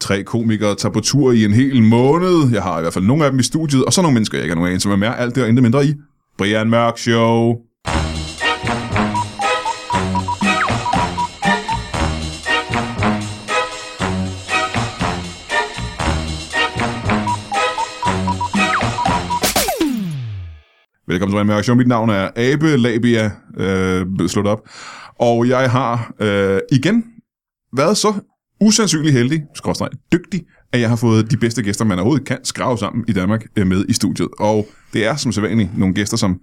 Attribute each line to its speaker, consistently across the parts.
Speaker 1: tre komikere tager på tur i en hel måned. Jeg har i hvert fald nogle af dem i studiet, og så nogle mennesker, jeg ikke har nogen anelse med mere. Alt det og intet mindre i Brian Mørk Show. Velkommen til Brian Mørk Show. Mit navn er Abe Labia, øh, slået op. Og jeg har øh, igen været så usandsynlig heldig, skråstreg, dygtig, at jeg har fået de bedste gæster, man overhovedet kan skrave sammen i Danmark øh, med i studiet. Og det er som sædvanligt nogle gæster, som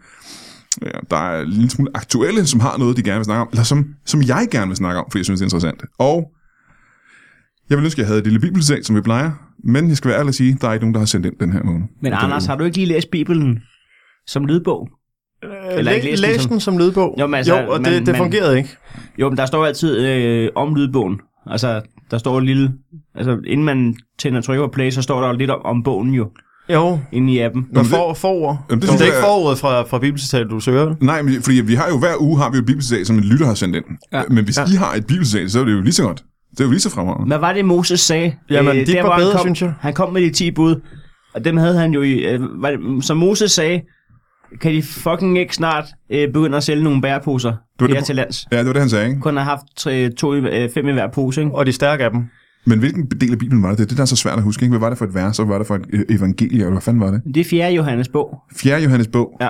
Speaker 1: ja, der er en lille smule aktuelle, som har noget, de gerne vil snakke om, eller som, som jeg gerne vil snakke om, fordi jeg synes, det er interessant. Og jeg vil ønske, at jeg havde et lille bibelcitat, som vi plejer, men jeg skal være ærlig og sige, at der er ikke nogen, der har sendt ind den her måned.
Speaker 2: Men Anders, har du ikke lige læst Bibelen som lydbog? Eller
Speaker 3: Læ-
Speaker 2: ikke læse
Speaker 3: læs,
Speaker 2: den
Speaker 3: den
Speaker 2: som-
Speaker 3: som... lydbog.
Speaker 2: Jo, men altså,
Speaker 3: jo og
Speaker 2: man-
Speaker 3: det, det
Speaker 2: man-
Speaker 3: fungerede ikke.
Speaker 2: Jo, men der står altid øh, om lydbogen. Altså, der står lille... Altså, inden man tænder og trykker på play, så står der jo lidt om, om bogen jo,
Speaker 3: Jo,
Speaker 2: inde i appen.
Speaker 3: der
Speaker 1: det-
Speaker 3: for, forord.
Speaker 1: Jamen, det
Speaker 3: Jamen, det,
Speaker 1: synes
Speaker 3: det er
Speaker 1: jeg
Speaker 3: ikke
Speaker 1: er-
Speaker 3: forordet fra, fra bibelcitatet, du søger, vel?
Speaker 1: Nej, men, fordi vi har jo hver uge har vi jo et bibelcitat, som en lytter har sendt ind. Ja.
Speaker 2: Ja.
Speaker 1: Men hvis ja. I har et bibelcitat, så er det jo lige så godt. Det er jo lige så fremragende.
Speaker 2: Hvad var det, Moses sagde? Øh,
Speaker 3: Jamen, de
Speaker 2: der,
Speaker 3: var
Speaker 2: hvor han
Speaker 3: bedre,
Speaker 2: kom,
Speaker 3: synes jeg.
Speaker 2: Han kom med de 10 bud, og dem havde han jo i... Øh, var det, som Moses sagde, kan de fucking ikke snart øh, begynde at sælge nogle bæreposer
Speaker 1: var
Speaker 2: her
Speaker 1: det
Speaker 2: det,
Speaker 1: på-
Speaker 2: til lands?
Speaker 1: Ja, det var det, han sagde, ikke?
Speaker 2: Kun har haft tre, to, i- øh, fem i hver pose, ikke?
Speaker 3: Og de stærke af dem.
Speaker 1: Men hvilken del af Bibelen var det? Det er det, der er så svært at huske, ikke? Hvad var det for et vers, og hvad var det for et øh, evangelie, eller hvad fanden var det?
Speaker 2: Det er fjerde Johannes bog.
Speaker 1: 4. Johannes bog.
Speaker 2: Ja.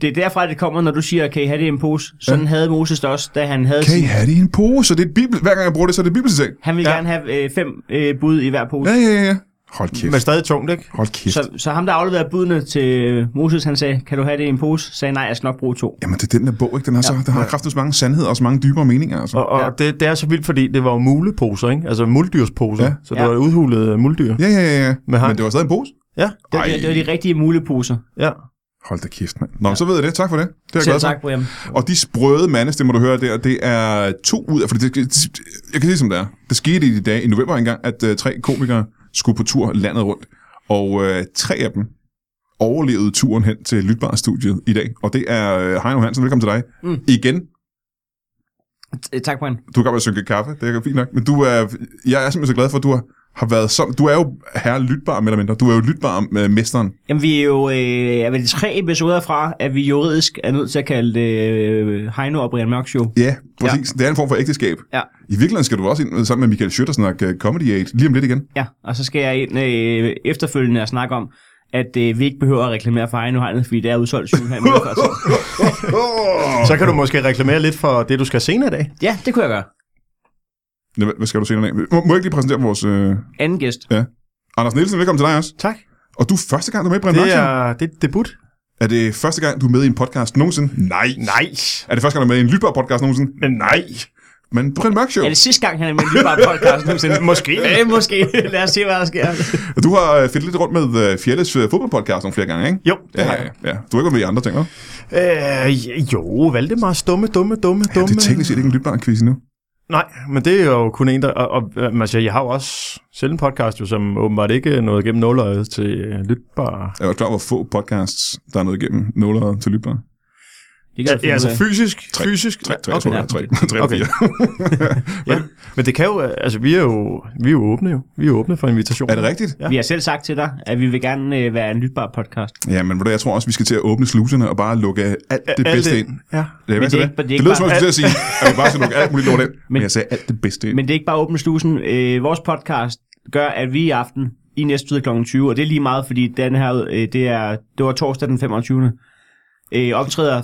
Speaker 2: Det er derfra, det kommer, når du siger, kan I have det i en pose? Sådan ja. havde Moses det også, da han havde
Speaker 1: Kan I
Speaker 2: sin...
Speaker 1: have det i en pose? Det er et bibel... Hver gang jeg bruger det, så er det et bibelcitat.
Speaker 2: Han ville
Speaker 3: Ja.
Speaker 2: ja. gerne have øh, fem øh, bud i hver pose.
Speaker 1: Ja,
Speaker 2: Ja.
Speaker 1: ja, ja, ja. Hold kæft.
Speaker 3: Men stadig tungt, ikke?
Speaker 1: Hold kæft. Så...
Speaker 2: Så, så ham, der afleverede budene til Moses, han sagde, kan du have det i en pose? Sagde, nej, jeg skal nok bruge to.
Speaker 1: Jamen, det er den der bog, ikke? Den har, så, den har kraftigt mange sandheder og så mange dybere meninger, altså.
Speaker 3: Og, og
Speaker 2: Ja.
Speaker 3: ja. det, det er så vildt, fordi det var jo muleposer, ikke? Altså muldyrsposer.
Speaker 1: Ja.
Speaker 3: Ja. Så det
Speaker 2: Ja.
Speaker 3: var udhulede øh, muldyr.
Speaker 1: Ja, ja, ja, ja.
Speaker 3: Med hak.
Speaker 1: Men det var stadig en pose.
Speaker 3: Ja,
Speaker 2: Det var,
Speaker 1: Ej.
Speaker 2: det, det var de rigtige muleposer.
Speaker 3: ja.
Speaker 1: Hold da kæft, mand. Nå, ja. så ved jeg det. Tak for det. Det er jeg glad
Speaker 2: Selv
Speaker 1: for.
Speaker 2: tak, Brian.
Speaker 1: Og de sprøde mandestemmer, du hører der, det er to ud af... Fordi det, det, jeg kan sige, som det er. Det skete i de dage i november engang, at uh, tre komikere skulle på tur landet rundt. Og uh, tre af dem overlevede turen hen til Lytbar-studiet i dag. Og det er uh, Heino Hansen. Velkommen til dig. Mm. Igen.
Speaker 2: Øh, Tak, Brian.
Speaker 1: Du kan bare synge kaffe. Det er fint nok. Men du er, jeg er simpelthen så glad for, at du har, har været så... Du er jo herre Lytbar, mere eller mindre. Du er jo Lytbar-mesteren.
Speaker 2: Jamen, vi er jo øh, er vel tre episoder fra, at vi juridisk er nødt til at kalde det øh, Heino og Brian Mørk Show.
Speaker 1: Ja, præcis. Ja. Det er en form for ægteskab.
Speaker 2: Ja.
Speaker 1: I virkeligheden skal du også ind sammen med Michael Schøtter snakke øh, Comedy Aid lige om lidt igen.
Speaker 2: Ja, og så skal jeg ind øh, efterfølgende og snakke om, at øh, vi ikke behøver at reklamere for Heino Heinz, fordi det er udsolgt syv her i måneden før tid.
Speaker 3: Så kan du måske reklamere lidt for det, du skal senere i dag.
Speaker 2: Ja, det kunne jeg gøre.
Speaker 1: Nå, Hvad hvad skal du senere af? Må, må jeg ikke lige præsentere vores... Øh...
Speaker 2: Anden gæst.
Speaker 1: Ja. Anders Nielsen, velkommen til dig også.
Speaker 3: Tak.
Speaker 1: Og du er første gang, du er med i Brian
Speaker 3: Det
Speaker 1: Mørk Show.
Speaker 3: er, det er debut.
Speaker 1: Er det første gang, du er med i en podcast nogensinde? Nej.
Speaker 3: Nej.
Speaker 1: Er det første gang, du er med i en lytbar podcast nogensinde?
Speaker 3: Men nej.
Speaker 1: Men Brian Mørk Show.
Speaker 2: Er det sidste gang, han er med i Lydbar Podcast nogensinde?
Speaker 3: Måske.
Speaker 2: Øh, måske. Lad os se, hvad der sker.
Speaker 1: Og Du har øh, fedt lidt rundt med øh, Fjelles øh, fodboldpodcast nogle flere gange, ikke?
Speaker 3: Jo, det
Speaker 1: ja,
Speaker 3: har
Speaker 1: ja, ja, ja. Du har ikke været med i andre ting, hva'?
Speaker 3: Øh, jo, Valdemar, dumme, dumme, dumme,
Speaker 1: Ja,
Speaker 3: dumme.
Speaker 1: det er teknisk set ikke en lytbar quiz endnu.
Speaker 3: Nej, men det er jo kun en, der... Og, og, øhm, altså, jeg har jo også selv en podcast, jo, som åbenbart ikke nåede gennem nåløjet til øh, lytbar.
Speaker 1: Jeg er jo klar over, hvor få podcasts, der er noget igennem nuller til lytbar.
Speaker 2: Det kan du finde ud af.
Speaker 3: altså fysisk.
Speaker 1: Tre.
Speaker 3: fysisk.
Speaker 1: Tre, tre,
Speaker 3: okay.
Speaker 1: okay,
Speaker 2: ja.
Speaker 1: jeg tror, jeg. tre, tre okay.
Speaker 3: Okay.
Speaker 1: fire.
Speaker 3: Ja, men det kan jo, altså vi er jo, vi er jo åbne jo. Vi er åbne for invitationer.
Speaker 1: Er det rigtigt?
Speaker 3: Ja.
Speaker 2: Vi har selv sagt til dig, at vi vil gerne øh, være en lytbar podcast.
Speaker 1: Ja, men ved du, jeg tror også, vi skal til at åbne sluserne og bare lukke alt det
Speaker 3: Alt
Speaker 1: bedste ind.
Speaker 3: Ja.
Speaker 1: Det, er,
Speaker 2: Men
Speaker 1: det,
Speaker 2: det er
Speaker 1: det? det,
Speaker 2: ikke- det er
Speaker 1: det
Speaker 2: ikke
Speaker 1: lyder som om,
Speaker 2: bare-
Speaker 1: jeg skulle til at sige, at vi bare skal lukke alt muligt lort ind. Men, men
Speaker 2: Men-
Speaker 1: jeg sagde alt det bedste ind.
Speaker 2: Men det er ikke bare åbne slusen. Øh, vores podcast gør, at vi i aften i næste tid kl. 20, og det er lige meget, fordi den her, øh, det, er, det var torsdag den 25. Øh, optræder,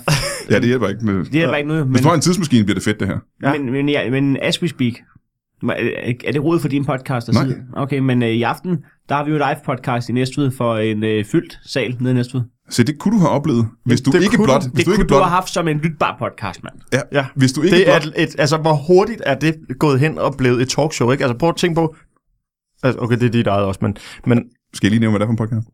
Speaker 1: Ja, det hjælper ikke. Med...
Speaker 2: det er bare ikke noget,
Speaker 1: Hvis
Speaker 2: men,
Speaker 1: du har en tidsmaskine, bliver det fedt, det her.
Speaker 2: ja. men, men, ja, men as we speak, er det råd for din podcast at
Speaker 1: Nej.
Speaker 2: sige? Okay, men øh, i aften, der har vi jo live podcast i Næstved for en øh, fyldt sal nede i Næstved.
Speaker 1: Så det kunne du have oplevet, hvis du
Speaker 3: det
Speaker 1: ikke
Speaker 3: kunne
Speaker 1: blot...
Speaker 3: du.
Speaker 1: Hvis
Speaker 2: Det
Speaker 1: du ikke
Speaker 2: kunne du
Speaker 1: blot...
Speaker 2: have haft som en lytbar podcast, mand.
Speaker 1: Ja,
Speaker 3: Ja.
Speaker 1: Hvis du ikke
Speaker 3: Det er
Speaker 1: blot...
Speaker 3: et, et, altså, hvor hurtigt er det gået hen og blevet et talkshow, ikke? Altså, prøv at tænke på... Altså, okay, det er dit eget også, men... men
Speaker 1: Skal jeg lige nævne, hvad det er for en podcast?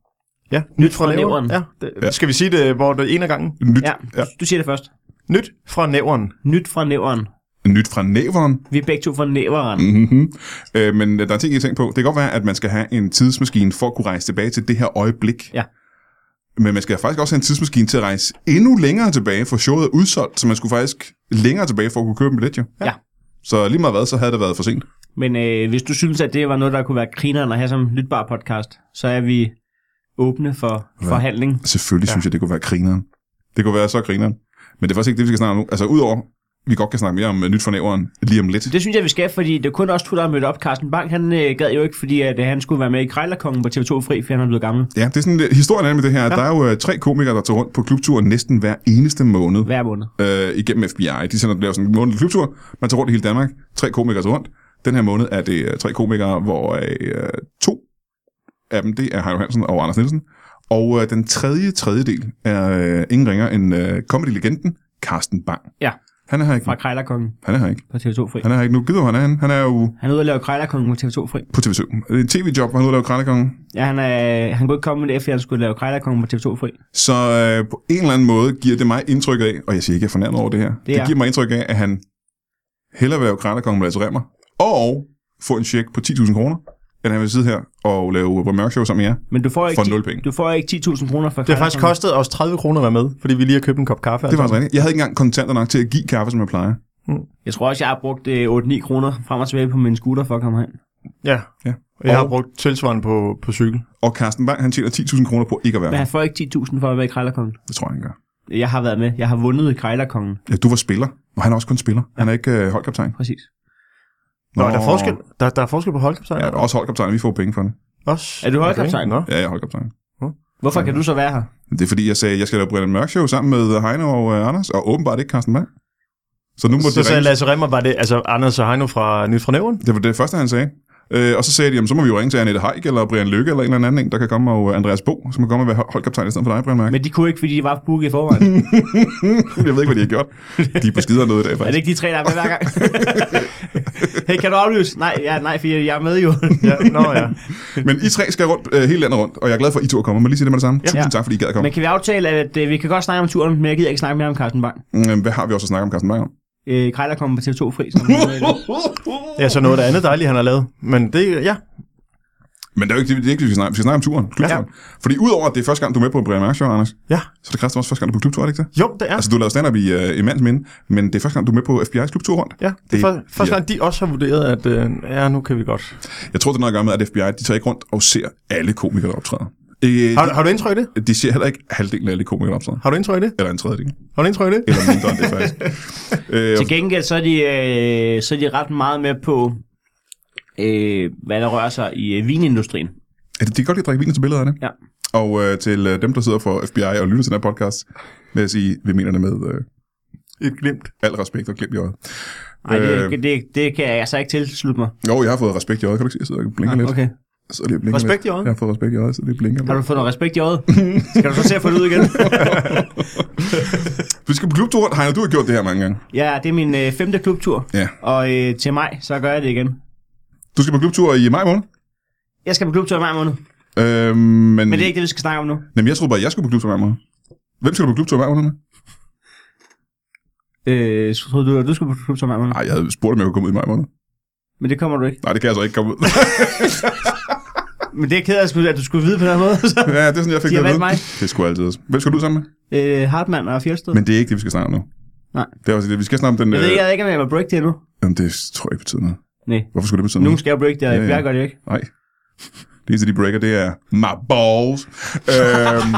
Speaker 3: ja, nyt
Speaker 2: fra
Speaker 3: fra nævren.
Speaker 2: næveren.
Speaker 3: Ja, det, ja. Skal vi sige det, hvor det en af gangen?
Speaker 1: Nyt,
Speaker 2: Ja,
Speaker 1: ja.
Speaker 2: du siger det først.
Speaker 3: Nyt fra nævren.
Speaker 2: Nyt fra næveren.
Speaker 1: Nyt fra næveren.
Speaker 2: Vi er begge to fra næveren.
Speaker 1: Mm-hmm. Øh, men der er en ting, jeg tænker på. Det kan godt være, at man skal have en tidsmaskine for at kunne rejse tilbage til det her øjeblik.
Speaker 2: Ja.
Speaker 1: Men man skal faktisk også have en tidsmaskine til at rejse endnu længere tilbage, for showet er udsolgt, så man skulle faktisk længere tilbage for at kunne købe en billet, jo.
Speaker 2: Ja.
Speaker 1: Så lige meget hvad, så havde det været for sent.
Speaker 2: Men øh, hvis du synes, at det var noget, der kunne være grineren at have som lytbar podcast, så er vi åbne for
Speaker 1: Ja.
Speaker 2: forhandling.
Speaker 1: Selvfølgelig ja.
Speaker 3: Ja.
Speaker 1: synes jeg, det kunne være grineren. Det kunne være så grineren. Men det er faktisk ikke det, vi skal snakke om nu. Altså udover, vi godt kan snakke mere om øh, nyt fra næveren lige om lidt.
Speaker 2: Det synes jeg, vi skal, fordi det er kun os to, der har mødt op. Carsten Bang, han øh, gad jo ikke, fordi at, øh, han skulle være med i Krejlerkongen på TV2 Fri, fordi han er blevet gammel
Speaker 1: Ja, det er sådan, lidt- historien er med det her. Ja. Der er jo øh, tre komikere, der tager rundt på klubtur næsten hver eneste måned
Speaker 2: hver måned.
Speaker 1: øh, igennem FBI. De sender, laver sådan en månedlig klubtur. Man tager rundt i hele Danmark. Tre komikere tager rundt. Den her måned er det øh, tre komikere, hvor øh, to af dem, det er Heino Hansen og Anders Nielsen. Og øh, den tredje tredjedel er øh, ingen ringer end øh, comedy-legenden Carsten Bang.
Speaker 2: Ja,
Speaker 1: Han er her ikke.
Speaker 2: fra Krejlerkongen
Speaker 1: Han er her ikke.
Speaker 2: på TV2 Fri.
Speaker 1: Han er her ikke nu. Gider han er han? Han er jo
Speaker 2: Han er ude og lave Krejlerkongen på TV2 Fri.
Speaker 1: på TV2. Det er en tv-job, hvor han er ude og lave Krallekongen.
Speaker 2: Ja, han, er, han kunne ikke komme med det, fordi han skulle lave Krejlerkongen på TV2 Fri.
Speaker 1: Så øh, på en eller anden måde giver det mig indtryk af, og jeg siger ikke, jeg er fornærmet over det her, det, det
Speaker 2: er-
Speaker 1: giver mig indtryk af, at han hellere vil lave Krallerkongen med Lasse Remmer, og få en check på 10.000 kroner, end han vil sidde her og lave Brian Mørk Show sammen med jer.
Speaker 2: Men du får ikke,
Speaker 1: For
Speaker 2: ti-
Speaker 1: nul penge.
Speaker 2: Du får ikke 10.000 kroner for
Speaker 3: Det har faktisk kostet os 30 kroner at være med, fordi vi lige har købt en kop kaffe.
Speaker 1: Det var altså rigtigt. Jeg havde ikke engang kontanter nok til at give kaffe, som jeg plejer.
Speaker 2: Jeg tror også, jeg har brugt øh, 8-9 kroner frem og tilbage på min scooter for at komme hen.
Speaker 3: Ja.
Speaker 1: Ja.
Speaker 3: ja. Jeg har
Speaker 1: Og-
Speaker 3: brugt tilsvarende på, på cykel.
Speaker 1: Og Carsten Bang, han tjener 10.000 kroner på ikke at være
Speaker 2: Men
Speaker 1: her.
Speaker 2: han får ikke 10.000 for at være i Krejlerkongen.
Speaker 1: Det tror jeg, han gør.
Speaker 2: Jeg har været med. Jeg har vundet i Krejlerkongen.
Speaker 1: Ja, du var spiller, og han er også kun spiller. Han er ikke øh, holdkaptajn.
Speaker 2: Præcis.
Speaker 3: Nå, er der forskel? Der, der er forskel på holdkaptajn?
Speaker 1: Ja, der er også holdkaptajn, vi får penge for det.
Speaker 3: Også?
Speaker 2: Er du holdkaptajn?
Speaker 3: Okay. Nå.
Speaker 1: Ja, jeg er holdkaptajn.
Speaker 2: Hvorfor kan du så være her?
Speaker 1: Det er fordi, jeg sagde, at jeg skal lave Brian Mørk Show sammen med Heino og øh, Anders, og åbenbart ikke Carsten Bang. Så nu må
Speaker 3: Så
Speaker 1: de
Speaker 3: sagde
Speaker 1: ringe.
Speaker 3: Lasse Remmer, var det altså Anders og Heino fra Nyt fra Nævren?
Speaker 1: Det var det første, han sagde. Øh, og så sagde de, jamen, så må vi jo ringe til Annette Heik, eller Brian Lykke, eller en eller anden, en, der kan komme, og øh, Andreas Bo, som kan komme og være hold- holdkaptajn i stedet for dig, Brian Mærk.
Speaker 2: Men de kunne ikke, fordi de var booket i forvejen.
Speaker 1: jeg ved ikke, hvad de har gjort. De er på skider noget i dag,
Speaker 2: er
Speaker 1: faktisk.
Speaker 2: det ikke de tre, der er med hver gang? hey, kan du aflyse? Nej, ja, nej, for jeg er med jo.
Speaker 3: Ja, nå ja.
Speaker 1: Men I tre skal rundt, øh, hele landet rundt, og jeg er glad for, at I to er kommet. Men lige sige det med det samme. Ja. Tusind
Speaker 2: Ja.
Speaker 1: tak, fordi I gad at komme.
Speaker 2: Men kan vi aftale, at øh, vi kan godt snakke om turen, men jeg gider ikke snakke mere om Carsten Bang.
Speaker 1: Men... Mm, Hvad har vi også at snakke om, Carsten Bang? om?
Speaker 2: Øh, Krejler kommer på TV2 fri. Som
Speaker 3: Ja, så noget af det andet dejligt, han har lavet. Men det, ja.
Speaker 1: Men det er jo ikke det, det er ikke, det, vi skal snakke om. Vi skal snakke om turen. Klubturen. Ja. Fordi udover, at det er første gang, du er med på en Brian Mærk Show, Anders,
Speaker 3: Ja.
Speaker 1: så er det Christian også første gang, du er på klubtur, er det ikke det?
Speaker 3: Jo, det er.
Speaker 1: Altså, du lavede stand-up i, øh, i mands minde, men det er første gang, du er med på FBI's klubtur rundt.
Speaker 3: Ja, det er
Speaker 1: det-
Speaker 3: for, første
Speaker 1: ja.
Speaker 3: gang, de også har vurderet, at øh, ja, nu kan vi godt.
Speaker 1: Jeg tror, det er noget at gøre med, at FBI, de tager ikke rundt og ser alle komikere, der optræder. Øh,
Speaker 3: Har, har du indtryk i det?
Speaker 1: de ser heller ikke halvdelen af alle komikere, der optræder.
Speaker 3: Har du indtryk i det?
Speaker 1: Eller en tredjedel.
Speaker 3: Har du indtryk i det?
Speaker 1: Eller mindre end det, faktisk. øh,
Speaker 2: Til gengæld så er de, øh, så er de ret meget med på, øh, hvad der rører sig i øh, vinindustrien.
Speaker 1: er det, altså, de kan godt lide at drikke vin til billederne.
Speaker 2: Ja.
Speaker 1: Og øh, til øh, dem, der sidder for FBI og lytter til den her podcast, vil jeg sige, vi mener det med øh,
Speaker 3: Et glimt.
Speaker 1: al respekt og klip i øjet.
Speaker 2: Nej,
Speaker 1: Øh.
Speaker 2: det, det, det, det kan jeg altså ikke tilslutte mig.
Speaker 1: Jo, jeg har fået respekt i øjet. Kan du ikke se, jeg sidder og blinker lidt?
Speaker 2: Okay.
Speaker 1: Jeg sidder lige og blinker
Speaker 3: Ah, Respekt i
Speaker 1: lidt.
Speaker 3: øjet?
Speaker 1: Jeg har fået respekt i øjet, så det blinker
Speaker 2: Har
Speaker 1: lidt.
Speaker 2: du fået noget respekt i øjet? Skal du så se at få det ud igen?
Speaker 1: Vi skal på klubtur. Heiner, du har gjort det her mange gange.
Speaker 2: ja, det er min øh, femte klubtur.
Speaker 1: Ja.
Speaker 2: Og øh, til maj, så gør jeg det igen.
Speaker 1: Du skal på klubtur i maj måned.
Speaker 2: Jeg skal på klubtur i maj måned.
Speaker 1: Øh, men,
Speaker 2: Men det er ikke det, vi skal snakke om nu.
Speaker 1: Jamen, jeg troede bare, jeg skulle på klubtur i maj måned. Hvem skal du på klubtur i maj måned med?
Speaker 2: Øh, så troede du, at du skulle på klubtur i maj måned.
Speaker 1: Nej, jeg havde spurgt, om jeg kunne komme ud i maj måned.
Speaker 2: Men det kommer du ikke.
Speaker 1: Nej, det kan jeg så ikke komme ud.
Speaker 2: Men det er jeg ked af, at skulle- at du skulle vide på den her måde. Så.
Speaker 1: ja, det er sådan, jeg fik
Speaker 2: De har
Speaker 1: det at
Speaker 2: valgt
Speaker 1: vide. Det skulle altid. Hvem skal du ud sammen med?
Speaker 2: Øh, Hartmann og Fjeldsted.
Speaker 1: Men det er ikke det, vi skal snakke om nu.
Speaker 2: Nej.
Speaker 1: Det er også det. Vi skal snakke om den...
Speaker 2: Jeg
Speaker 1: Øh...
Speaker 2: ved ikke, jeg ved ikke, om jeg var break det endnu.
Speaker 1: Jamen, det tror jeg ikke betyder noget.
Speaker 2: Nej.
Speaker 1: Hvorfor skulle det betyde
Speaker 2: Nu
Speaker 1: noget?
Speaker 2: skal jeg break det, og
Speaker 1: Ja, ja.
Speaker 2: jeg gør det ikke.
Speaker 1: Nej. Det eneste, de breaker, det er my balls. øhm...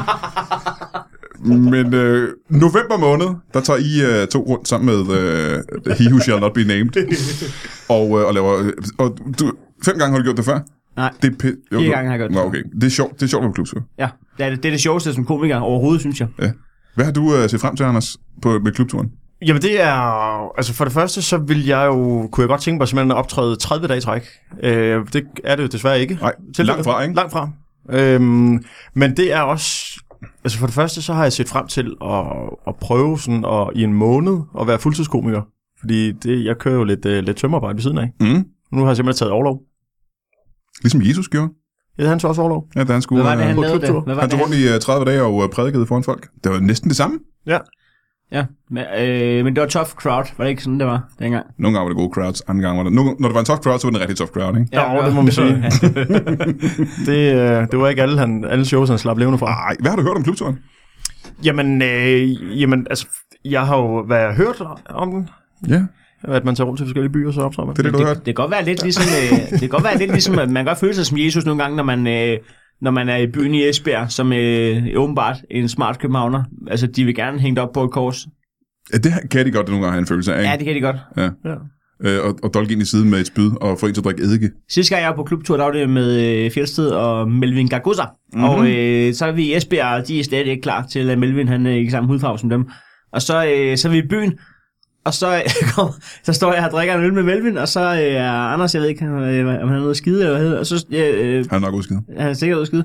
Speaker 1: Men øh, november måned, der tager I øh, to rundt sammen med øh, He Who Shall Not Be Named. og, øh, og laver... Øh, og du, fem gange har du gjort det før?
Speaker 2: Nej.
Speaker 1: Det er pæ-
Speaker 2: Fire gange har jeg gjort det
Speaker 1: det.
Speaker 2: før.
Speaker 1: okay. Det er sjovt, det er sjovt med klubtur.
Speaker 2: Ja, det er det, det, er det sjoveste som komiker overhovedet, synes jeg.
Speaker 1: Ja. Hvad har du øh, set frem til, Anders, på, med klubturen?
Speaker 3: Jamen det er, altså for det første, så vil jeg jo, kunne jeg godt tænke mig simpelthen at optræde 30 dage i træk. Øh, det er det jo desværre ikke.
Speaker 1: Nej, langt fra, ikke?
Speaker 3: Langt fra. Øhm, men det er også, altså for det første, så har jeg set frem til at, at prøve sådan at, i en måned at være fuldtidskomiker. Fordi det, jeg kører jo lidt, øh, lidt tømmerarbejde ved siden af.
Speaker 1: Mm.
Speaker 3: Nu har jeg simpelthen taget overlov.
Speaker 1: Ligesom Jesus gjorde.
Speaker 3: Jeg havde han så også overlov.
Speaker 1: Ja, da han skulle...
Speaker 2: Hvad var det, han
Speaker 1: øh,
Speaker 3: på
Speaker 2: lavede
Speaker 3: klubtur.
Speaker 2: det? Hvad var
Speaker 1: han
Speaker 2: det,
Speaker 1: tog rundt i øh, 30 dage og øh, prædikede foran folk. Det var næsten det samme.
Speaker 3: Ja.
Speaker 2: Ja, men, øh, men det var tough crowd, var det ikke sådan, det var dengang?
Speaker 1: Nogle gange var det gode crowds, andre gange var det... Nogle, når det var en tough crowd, så var det en rigtig tough crowd, ikke?
Speaker 3: Ja, jo, det må man sige.
Speaker 2: Ja.
Speaker 3: Det, øh, det var ikke alle, han, alle shows, han slap levende fra.
Speaker 1: Ej, hvad har du hørt om klubturen?
Speaker 3: Jamen, øh, jamen altså, jeg har jo, hvad jeg har hørt om den,
Speaker 1: Ja.
Speaker 3: at man tager rundt til forskellige byer, så optræder man.
Speaker 1: Det er det, du har hørt.
Speaker 2: Det kan godt være lidt ligesom, øh, det kan godt være lidt ligesom at man godt føler sig som Jesus nogle gange, når man, øh, når man er i byen i Esbjerg, som øh, åbenbart en smart københavner. Altså, de vil gerne hænge det op på et kors.
Speaker 1: Ja, det kan de godt nogle gange have en følelse af.
Speaker 2: Ja,
Speaker 1: Ja,
Speaker 2: det kan de godt.
Speaker 3: Ja.
Speaker 1: det... og, og dolke ind i siden med et spyd og få en til at drikke eddike.
Speaker 2: Sidste gang jeg var på klubtur, der var det med øh, Fjeldsted og Melvin Gagosa. Mm-hmm. Og øh, så er vi i Esbjerg, og de er slet ikke klar til, at Melvin han er ikke samme hudfarve som dem. Og så, øh, så er vi i byen, og så, øh, kom, så står jeg og drikker en øl med Melvin, og så øh, er Anders, jeg ved ikke, han, øh, om han er noget skide eller hvad hedder, og så øh,
Speaker 1: Har du nok udskidt?
Speaker 2: han er sikkert noget skide.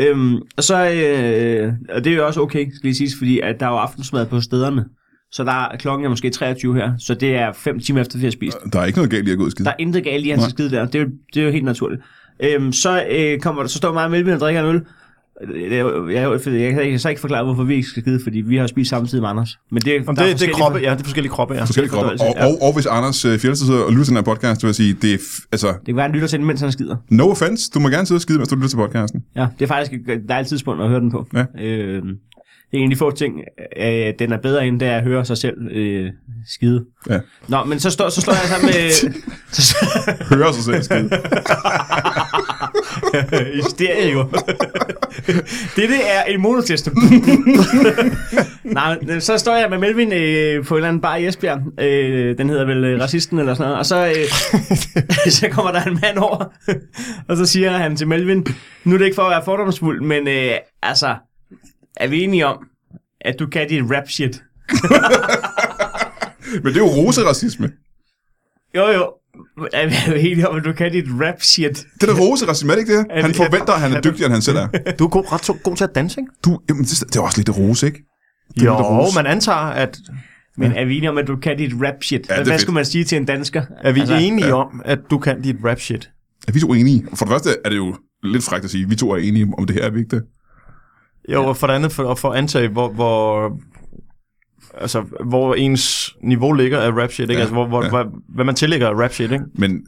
Speaker 2: Øhm, og så, øh, og det er jo også okay, skal lige siges, fordi at der er jo aftensmad på stederne. Så der er klokken er måske 23 her, så det er 5 timer efter, vi har spist.
Speaker 1: Der er ikke noget galt i at gå ud og skide.
Speaker 2: Der er intet galt i, at han skal skide der. Det er, jo- det er jo helt naturligt. Øhm, så, øh, kommer, der- så står mig og Melvin og drikker en øl. Øh, Jeg, jeg, jeg, jeg kan ikke- så ikke forklare, hvorfor vi ikke skal skide, fordi vi har spist samtidig med Anders. Men det,
Speaker 3: Jamen,
Speaker 2: der
Speaker 3: det, det, er
Speaker 2: forskellige-
Speaker 3: kroppe, ja, det er forskellige kroppe, ja.
Speaker 1: Forskellige kroppe. Og,
Speaker 2: forståelse,
Speaker 1: og, og hvis Anders øh, Fjeldsted sidder og lytter til den her podcast, så vil jeg sige, det er, f- altså,
Speaker 2: Det kan være, han lytter til den, mens han skider.
Speaker 1: no offense, du må gerne sidde og skide, mens du lytter til podcasten.
Speaker 2: Ja, det er faktisk et dejligt tidspunkt at høre den på.
Speaker 1: Ja.
Speaker 2: Øh, det er en af de få ting, øh, den er bedre end, det er at høre sig selv øh, skide.
Speaker 1: Ja.
Speaker 2: Nå, men så, står, så står jeg sammen med... så,
Speaker 1: Hører sig selv skide.
Speaker 2: I stereo. det det er en monotest. Nej, men så står jeg med Melvin øh, på en eller anden bar i Esbjerg. Øh, den hedder vel øh, Racisten eller sådan noget. Og så, øh, så kommer der en mand over, og så siger han til Melvin, nu er det ikke for at være fordomsfuld, men øh, altså, er vi enige om, at du kan dit rap shit?
Speaker 1: Men det er jo roseracisme.
Speaker 2: Jo jo, er vi enige om, at du kan dit rap shit?
Speaker 1: Det er da roseracisme, er det ikke det? Han
Speaker 2: det-
Speaker 1: forventer, at han er dygtigere, end han selv er.
Speaker 3: Du er god, ret så god til at danse, ikke?
Speaker 1: Du, jamen, det, det er også lidt rose, ikke? er
Speaker 3: Jo,
Speaker 1: lidt rose.
Speaker 3: man antager, at
Speaker 2: Men er vi enige om, at du kan dit rap shit?
Speaker 1: Ja, det
Speaker 2: Ja,
Speaker 1: er
Speaker 2: Hvad
Speaker 1: fedt.
Speaker 2: skulle man sige til en dansker?
Speaker 3: er vi altså, enige ja. om, at du kan dit rap shit.
Speaker 1: Er vi to enige? For det første er det jo lidt frækt at sige, at vi to er enige om det her er vigtigt.
Speaker 3: Jo, og for det andet, for, og for at antage, hvor, hvor, altså, hvor ens niveau ligger af rap shit, ikke?
Speaker 1: Ja,
Speaker 3: Ja, altså, hvor, hvor,
Speaker 1: ja.
Speaker 3: ja. hvad, hvad man tillægger af rap shit, ikke?
Speaker 1: Men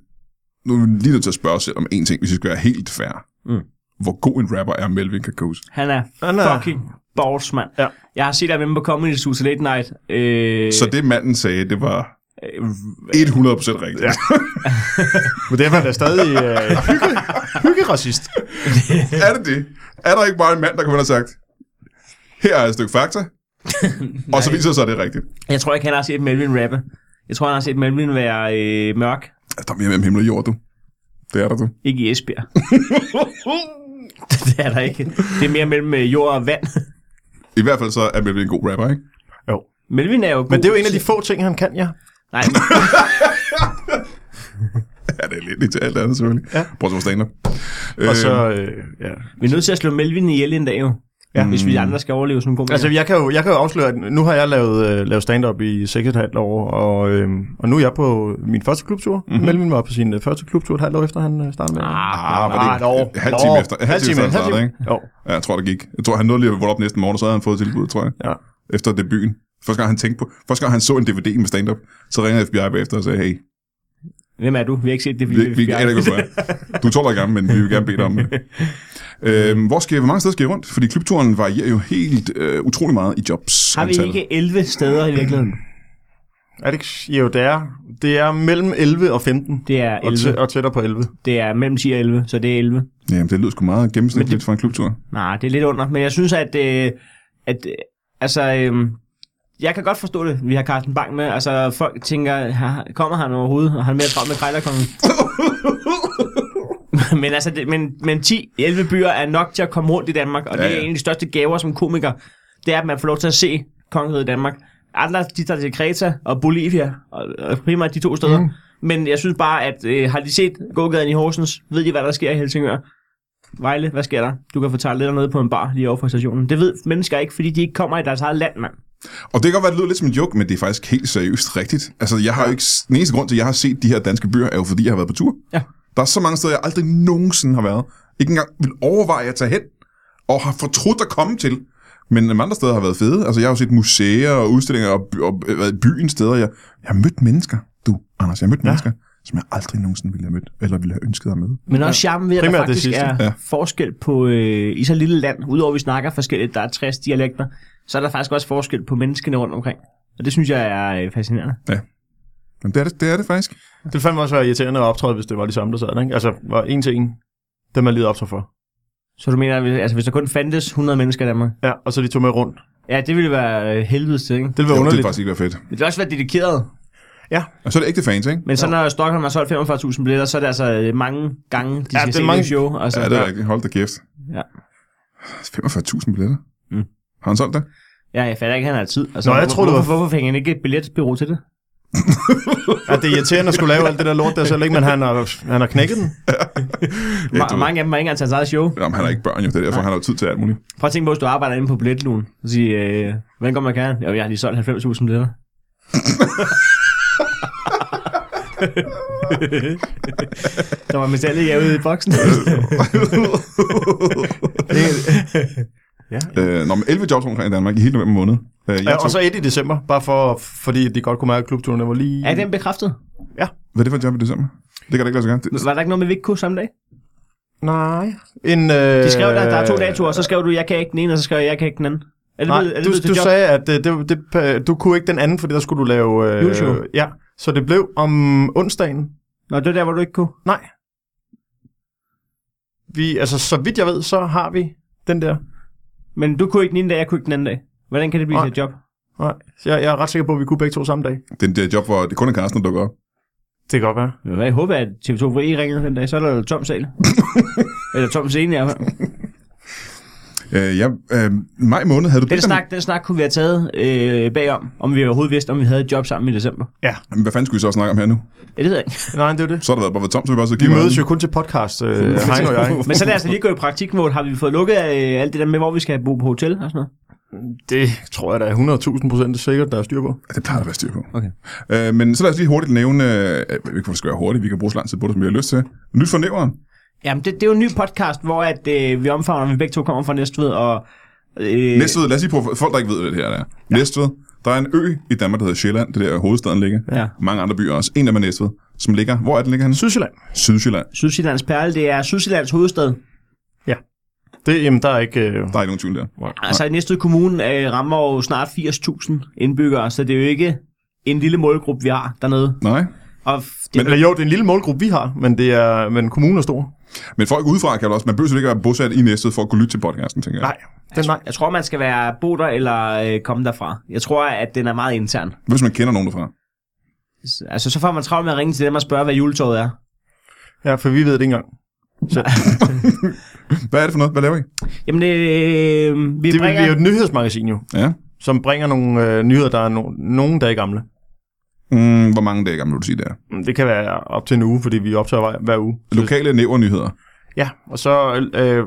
Speaker 1: nu er vi lige nødt til at spørge os selv om en ting, hvis vi skal være helt fair.
Speaker 2: Mm.
Speaker 1: Hvor god en rapper er Melvin Kakos?
Speaker 2: Han er
Speaker 3: Han er-
Speaker 2: fucking balls, mand.
Speaker 3: Ja.
Speaker 2: Jeg har set ham inde på Comedy Zoo til Late Night. Øh,
Speaker 1: Så det manden sagde, det var 100%
Speaker 2: øh,
Speaker 1: rigtigt. Ja.
Speaker 3: Men det er man da stadig øh, hygge, hyggeracist.
Speaker 1: er det det? Er der ikke bare en mand, der kommer ind og sagt, her er et stykke fakta, og så viser det sig, at det er rigtigt.
Speaker 2: jeg tror ikke, han har set Melvin rappe. Jeg tror, han har set Melvin være øh, mørk.
Speaker 1: Altså, Der er mere mellem himmel og jord, du. Det er der, du.
Speaker 2: Ikke i Esbjerg. det er der ikke. Det er mere mellem øh, jord og vand.
Speaker 1: I hvert fald så er Melvin en god rapper, ikke?
Speaker 3: Jo.
Speaker 2: Melvin er jo god.
Speaker 3: Men det er jo en af de få ting, han kan, ja.
Speaker 2: Nej,
Speaker 1: Ja, det er lidt lidt til alt andet, selvfølgelig. Ja.
Speaker 3: Ja.
Speaker 1: Prøv at se, stand Øhm,
Speaker 3: Og så, øh, ja.
Speaker 2: vi er nødt til at slå Melvin ihjel en dag jo. Ja. Hvis vi andre skal overleve sådan en god
Speaker 3: Altså, jeg kan, jo, jeg kan jo afsløre, at nu har jeg lavet, øh, lavet stand-up i 6,5 år, og, øh, og nu er jeg på min første klubtur. Mm-hmm. Melvin var på sin øh, første klubtur et halvt år efter, han øh, startede med.
Speaker 2: Mhm. Ah,
Speaker 1: Ah, var det
Speaker 3: Ah,
Speaker 1: ikke-
Speaker 3: et år.
Speaker 1: halv time
Speaker 3: Nå,
Speaker 1: efter- halv time efter, han startede, ikke?
Speaker 3: Jo,
Speaker 1: Ja, jeg tror, det gik. Jeg tror, han nåede lige at vågne op næsten morgen, og så havde han fået tilbuddet, tror jeg.
Speaker 3: ja.
Speaker 1: Efter debuten. Første gang, han tænkte på, første gang, han så en DVD med stand-up, så ringede FBI bagefter og sagde, hey,
Speaker 2: Hvem er du? Vi har ikke set det.
Speaker 1: vi, vi er ikke Du er 12 år gammel, men vi vil gerne bede dig om det. Øhm, hvor, skal, hvor mange steder skal I rundt? Fordi klubturen varierer jo helt øh, utrolig meget i jobs.
Speaker 2: har vi ikke 11 steder i virkeligheden?
Speaker 3: Er det ikke? Jo, det er. Det er mellem 11 og 15.
Speaker 2: Det er
Speaker 3: Og,
Speaker 2: 11.
Speaker 3: tæ- og tættere på 11.
Speaker 2: Det er mellem 10 og 11, så det er 11.
Speaker 1: Jamen, det lyder sgu meget gennemsnitligt for en klubtur.
Speaker 2: Nej, det er lidt under. Men jeg synes, at... Øh, at øh, altså, øh, jeg kan godt forstå det, vi har Carsten Bang med. Altså, folk tænker, "Ha- kommer han overhovedet? Og han er mere travlt med Krejlerkongen. men altså, det, men, men 10-11 byer er nok til at komme rundt i Danmark, og ja,
Speaker 1: Ja,
Speaker 2: det er
Speaker 1: ja.
Speaker 2: en af de største gaver som komiker. Det er, at man får lov til at se kongeriget Danmark. Andre, de tager til Kreta og Bolivia, og, og primært de to steder. Mm. Men jeg synes bare, at øh, har de set gågaden i Horsens, ved de, hvad der sker i Helsingør? Vejle, hvad sker der? Du kan fortælle lidt nede på en bar lige over for stationen. Det ved mennesker ikke, fordi de ikke kommer i deres eget land, mand.
Speaker 1: Og det kan godt være, det lyder lidt som en joke, men det er faktisk helt seriøst rigtigt. Altså, jeg har jo ikke... Den eneste grund til, at jeg har set de her danske byer, er jo fordi, jeg har været på tur.
Speaker 2: Ja.
Speaker 1: Der er så mange steder, jeg aldrig nogensinde har været. Ikke engang vil overveje at tage hen, og har fortrudt at komme til. Men øhm, andre steder har været fede. Altså, jeg har jo set museer og udstillinger og, by- og øh, været i byen steder. Jeg, jeg har mødt mennesker, du, Anders. Jeg har mødt ja. mennesker, som jeg aldrig nogensinde ville have mødt, eller ville have ønsket at møde.
Speaker 2: Men også charmen ved, at der
Speaker 3: Primært det
Speaker 2: faktisk
Speaker 3: sidste.
Speaker 2: er
Speaker 1: Ja.
Speaker 2: ja. forskel på, øh, i så lille land, udover at vi snakker forskelligt, der er 60 dialekter, så er der faktisk også forskel på menneskene rundt omkring. Og det synes jeg er øh, fascinerende.
Speaker 1: Ja. Jamen, det er det, det, er det faktisk.
Speaker 3: Det ville fandme også være irriterende at optræde, hvis det var de samme, der sad der, ikke? Altså, var en til en, dem er lige optræd for.
Speaker 2: Så du mener, at hvis- altså, hvis der kun fandtes 100 mennesker i Danmark?
Speaker 3: Ja, og så de tog med rundt.
Speaker 2: Ja, det ville være øh, helvedes til, ikke?
Speaker 3: Det ville
Speaker 1: Jo,
Speaker 3: være
Speaker 1: det ville
Speaker 3: underligt.
Speaker 1: faktisk ikke være fedt.
Speaker 2: Men det vil også være dedikeret.
Speaker 1: Og så er det ægte fans, ikke?
Speaker 2: Men så når Stockholm har solgt 45.000 billetter, så er det altså øh, mange gange, de
Speaker 3: Ja,
Speaker 2: skal
Speaker 3: det
Speaker 2: se mange...
Speaker 3: er mange-
Speaker 2: show. Altså,
Speaker 1: Ja, det er rigtigt. Hold da kæft.
Speaker 2: Ja.
Speaker 1: 45.000 billetter.
Speaker 2: Mm.
Speaker 1: Har han solgt det?
Speaker 2: ja, jeg fatter ikke, at han har tid. Altså,
Speaker 3: Nå, jeg
Speaker 2: hvor-
Speaker 3: troede, det var-
Speaker 2: hvorfor, hvorfor fik han ikke et billetbyrå til det?
Speaker 3: Ja, det er irriterende at skulle lave alt det der lort der selv, ikke? Men han har, han har knækket den.
Speaker 1: Ja,
Speaker 2: Ma-
Speaker 1: du ved.
Speaker 2: mange af dem har ikke engang taget sig show.
Speaker 1: Jamen, han har ikke børn jo, det er derfor, han har jo tid til alt muligt.
Speaker 2: Prøv at tænke på, hvis du arbejder inde på billetlugen. Så siger, øh, hvordan går man kan? Jo, jeg har lige solgt 90.000 billetter. der var misandling jeg ude i boksen.
Speaker 1: øh, nå, men 11 jobs rundt omkring i Danmark i hele november måned. Øh, jeg
Speaker 3: Ja,
Speaker 1: tog,
Speaker 3: og så et i december, bare for, fordi de godt kunne mærke, at klubturen var lige...
Speaker 2: er den bekræftet?
Speaker 1: Hvad er det for et job i december? Det kan da ikke lade sig gøre. Det,
Speaker 2: Var der ikke noget med Vigko samme dag?
Speaker 3: Nej. En, øh...
Speaker 2: De skrev, der, der er to datoer, så skrev du, jeg kan ikke den ene, og så skrev jeg, jeg kan ikke den anden. Er det
Speaker 3: Nej,
Speaker 2: blevet- er det
Speaker 3: du,
Speaker 2: blevet til
Speaker 3: du
Speaker 2: job?
Speaker 3: sagde, at øh, det, det, øh, du kunne ikke den anden, fordi der skulle du lave... Øh,
Speaker 2: Juleshow.
Speaker 3: Ja, så det blev om onsdagen.
Speaker 2: Nå, det var der, hvor du ikke kunne.
Speaker 3: Nej. Vi, altså, så vidt jeg ved, så har vi den der.
Speaker 2: Men du kunne ikke den ene dag, jeg kunne ikke den anden dag. Hvordan kan det blive
Speaker 3: Nej.
Speaker 2: til et job?
Speaker 3: Nej, så jeg, jeg er ret sikker på, at vi kunne begge to samme dag.
Speaker 1: det er det job, hvor det kun er Carsten, der dukker op.
Speaker 3: Det kan godt være.
Speaker 2: Hvad, jeg håber, at TV2 Fri ringer den dag, så er der jo tom sal. Eller tom scene, i hvert fald.
Speaker 1: Øh, ja, øh, maj måned havde du
Speaker 2: Den
Speaker 1: bedt om...
Speaker 2: snak, den snak kunne vi have taget øh, bagom, om vi overhovedet vidste, om vi havde et job sammen i december.
Speaker 1: Jamen, Hvad fanden skulle vi så snakke om her nu?
Speaker 2: Ja, det ved jeg ikke.
Speaker 3: Nej, det er jo det.
Speaker 1: Så har der været bare været tomt, så vi bare så
Speaker 3: Vi
Speaker 1: give
Speaker 3: mødes jo kun til podcast, øh, Heino og jeg.
Speaker 2: Men så lad os da lige gå i praktik, hvor har vi fået lukket øh, alt det der med, hvor vi skal bo på hotel og sådan noget.
Speaker 3: Det tror jeg, der er 100.000 procent sikkert, der er styr på.
Speaker 1: Ja, Det plejer der at være styr på.
Speaker 2: Okay.
Speaker 1: Øh, men så lad os lige hurtigt nævne... Øh, jeg ved ikke, hvorfor skal være hurtigt. Vi kan bruge så lang tid på det, som vi har lyst til. Nyt for næveren.
Speaker 2: Jamen, det, det er jo en ny podcast, hvor at, øh, vi omfavner, at vi begge to kommer fra Næstved, og... Øh,
Speaker 1: Næstved, lad os lige prøve, for folk der ikke ved, hvad det her er. Ja. Næstved, der er en ø i Danmark, der hedder Sjælland, det er der hovedstaden ligger.
Speaker 2: Ja.
Speaker 1: Mange andre byer også. En af dem er Næstved, som ligger, hvor er den ligger han?
Speaker 3: Sydsjælland.
Speaker 1: Sydsjælland.
Speaker 2: Sydsjællands Perle, det er Sydsjællands hovedstad.
Speaker 3: Det, jamen, der er ikke... Øh,
Speaker 1: Der er ikke nogen tvivl der. Nej.
Speaker 2: Altså, Næstved Kommune øh, rammer jo snart 80.000 indbyggere, så det er jo ikke en lille målgruppe, vi har dernede.
Speaker 1: Nej.
Speaker 2: Og f- det,
Speaker 3: men, eller jo, det er en lille målgruppe, vi har, men, det er, men kommunen er stor.
Speaker 1: Men folk udefra kan vel også, man behøver selvfølgelig ikke være bosat i Næstved for at kunne lytte til podcasten, tænker jeg.
Speaker 3: Nej, den nej.
Speaker 2: jeg tror, man skal være bo der eller øh, komme derfra. Jeg tror, at den er meget intern.
Speaker 1: Hvis man kender nogen derfra.
Speaker 2: Altså, så får man travlt med at ringe til dem og spørge, hvad juletåret er.
Speaker 3: Ja, for vi ved det ikke engang.
Speaker 1: Hvad er det for noget? Hvad laver I?
Speaker 2: Jamen, øh, vi
Speaker 3: Det, vi
Speaker 2: bringer...
Speaker 3: er jo et nyhedsmagasin jo,
Speaker 1: Ja.
Speaker 3: som bringer nogle øh, nyheder, der er no- nogen dage gamle.
Speaker 1: Mm, hvor mange dage gammel vil du sige, det er?
Speaker 3: Mm, Det kan være op til en uge, fordi vi optager hver, hver uge.
Speaker 1: Lokale nævernyheder.
Speaker 3: Ja, og så... Øh,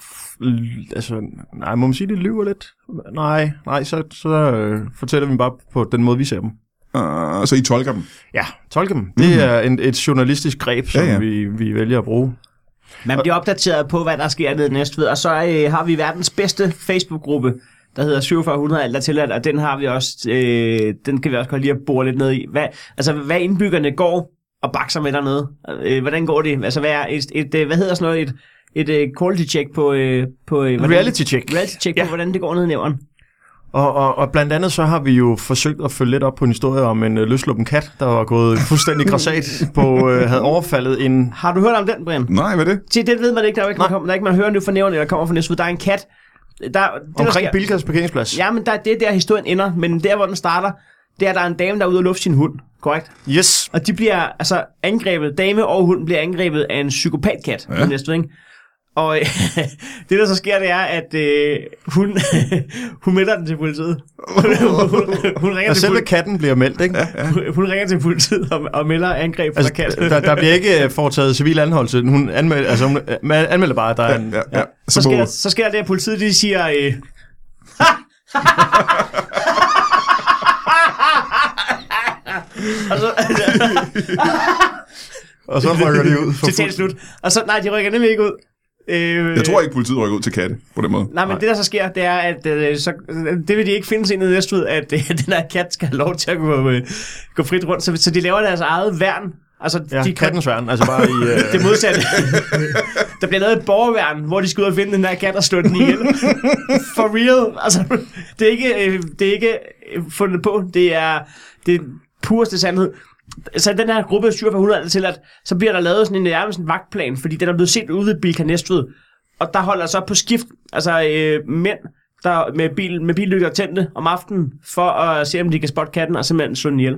Speaker 3: f- l- altså, nej, må man sige, det lyver lidt? Nej, nej, så, så øh, fortæller vi bare på den måde, vi ser dem.
Speaker 1: Uh, så I tolker dem.
Speaker 3: Ja, tolke dem. Det er en, et journalistisk greb, som
Speaker 1: Ja,
Speaker 3: ja,
Speaker 1: ja.
Speaker 3: ja. Vi, vi vælger at bruge.
Speaker 2: Man bliver opdateret på, hvad der sker nede i Næstved, og så øh, har vi verdens bedste Facebook-gruppe, der hedder 4700 alt er tilladt, og den har vi også, øh, den kan vi også godt lige at bore lidt ned i. Hvad, altså, hvad indbyggerne går og bakser med dernede. Øh, hvordan går det? Altså, hvad, er et, et, øh, hvad hedder sådan noget? Et, et øh, quality check på... Øh, på øh, hvordan,
Speaker 3: Reality check.
Speaker 2: Reality check ja.
Speaker 3: Ja.
Speaker 2: på, hvordan det går ned i nævren.
Speaker 3: Og, og, og blandt andet så har vi jo forsøgt at følge lidt op på en historie om en øh, løsluppen kat, der var gået fuldstændig græsat på, øh, havde overfaldet en...
Speaker 2: Har du hørt om den, Brian?
Speaker 1: Nej, hvad er det?
Speaker 2: Se, det ved man ikke, der er jo ikke, man, kommer, der er ikke man hører nu fra nævren, eller kommer fra Næstved. Der er en kat. Der, det, der
Speaker 3: Omkring
Speaker 2: sker-
Speaker 3: Bilkas parkeringsplads.
Speaker 2: Ja, men der, det er der, historien ender. Men der, hvor den starter, det er, at der er en dame, der er ude og lufte sin hund. Korrekt.
Speaker 3: Yes.
Speaker 2: Og de bliver altså angrebet. Dame og hund bliver angrebet af en psykopatkat. Ja. Næste, ikke? Og det, der så sker, det er, at øh, hun, hun melder den til politiet. Hun, hun, hun, ringer,
Speaker 3: Og
Speaker 2: til
Speaker 3: selve
Speaker 2: politi-
Speaker 3: katten bliver meldt, ikke? Ja, ja.
Speaker 2: hun, hun ringer til politiet og, og melder angreb fra altså,
Speaker 3: Altså,
Speaker 2: katten.
Speaker 3: der, der bliver ikke øh, foretaget civil anholdelse. Hun, anmeld, altså, hun øh, man anmelder bare, at der er en...
Speaker 1: Ja, ja.
Speaker 2: Så
Speaker 1: må-
Speaker 2: sker, så sker det, at politiet de siger... Øh, og så,
Speaker 3: Og så rykker de ud. For
Speaker 2: Citat slut. Og så, nej, de rykker nemlig ikke ud. Øh,
Speaker 1: Jeg tror ikke, politiet rykker ud til katte på den måde.
Speaker 2: Nej, men det der så sker, det er, at øh, så, øh, det vil de ikke finde sig i næste ud, at øh, den her kat skal have lov til at gå, øh, gå frit rundt. Så, så de laver deres eget værn. Altså,
Speaker 3: Ja,
Speaker 2: de
Speaker 3: de
Speaker 2: kan,
Speaker 3: kattens værn, altså bare i... Øh,
Speaker 2: det modsatte. der bliver lavet et borgerværn, hvor de skal ud og finde den her kat og slå den ihjel. For real. Altså, det er ikke, øh, det er ikke øh, fundet på. Det er det er pureste sandhed. så den her gruppe styrer fra 100 til, at så bliver der lavet sådan en nærmest en vagtplan, fordi den er blevet set ude ved Bilka Næstved. Og der holder så på skift, altså øh, mænd, der med, bil, med billygter tændte om aftenen, for at se, om de kan spotte katten, og simpelthen slå den ihjel.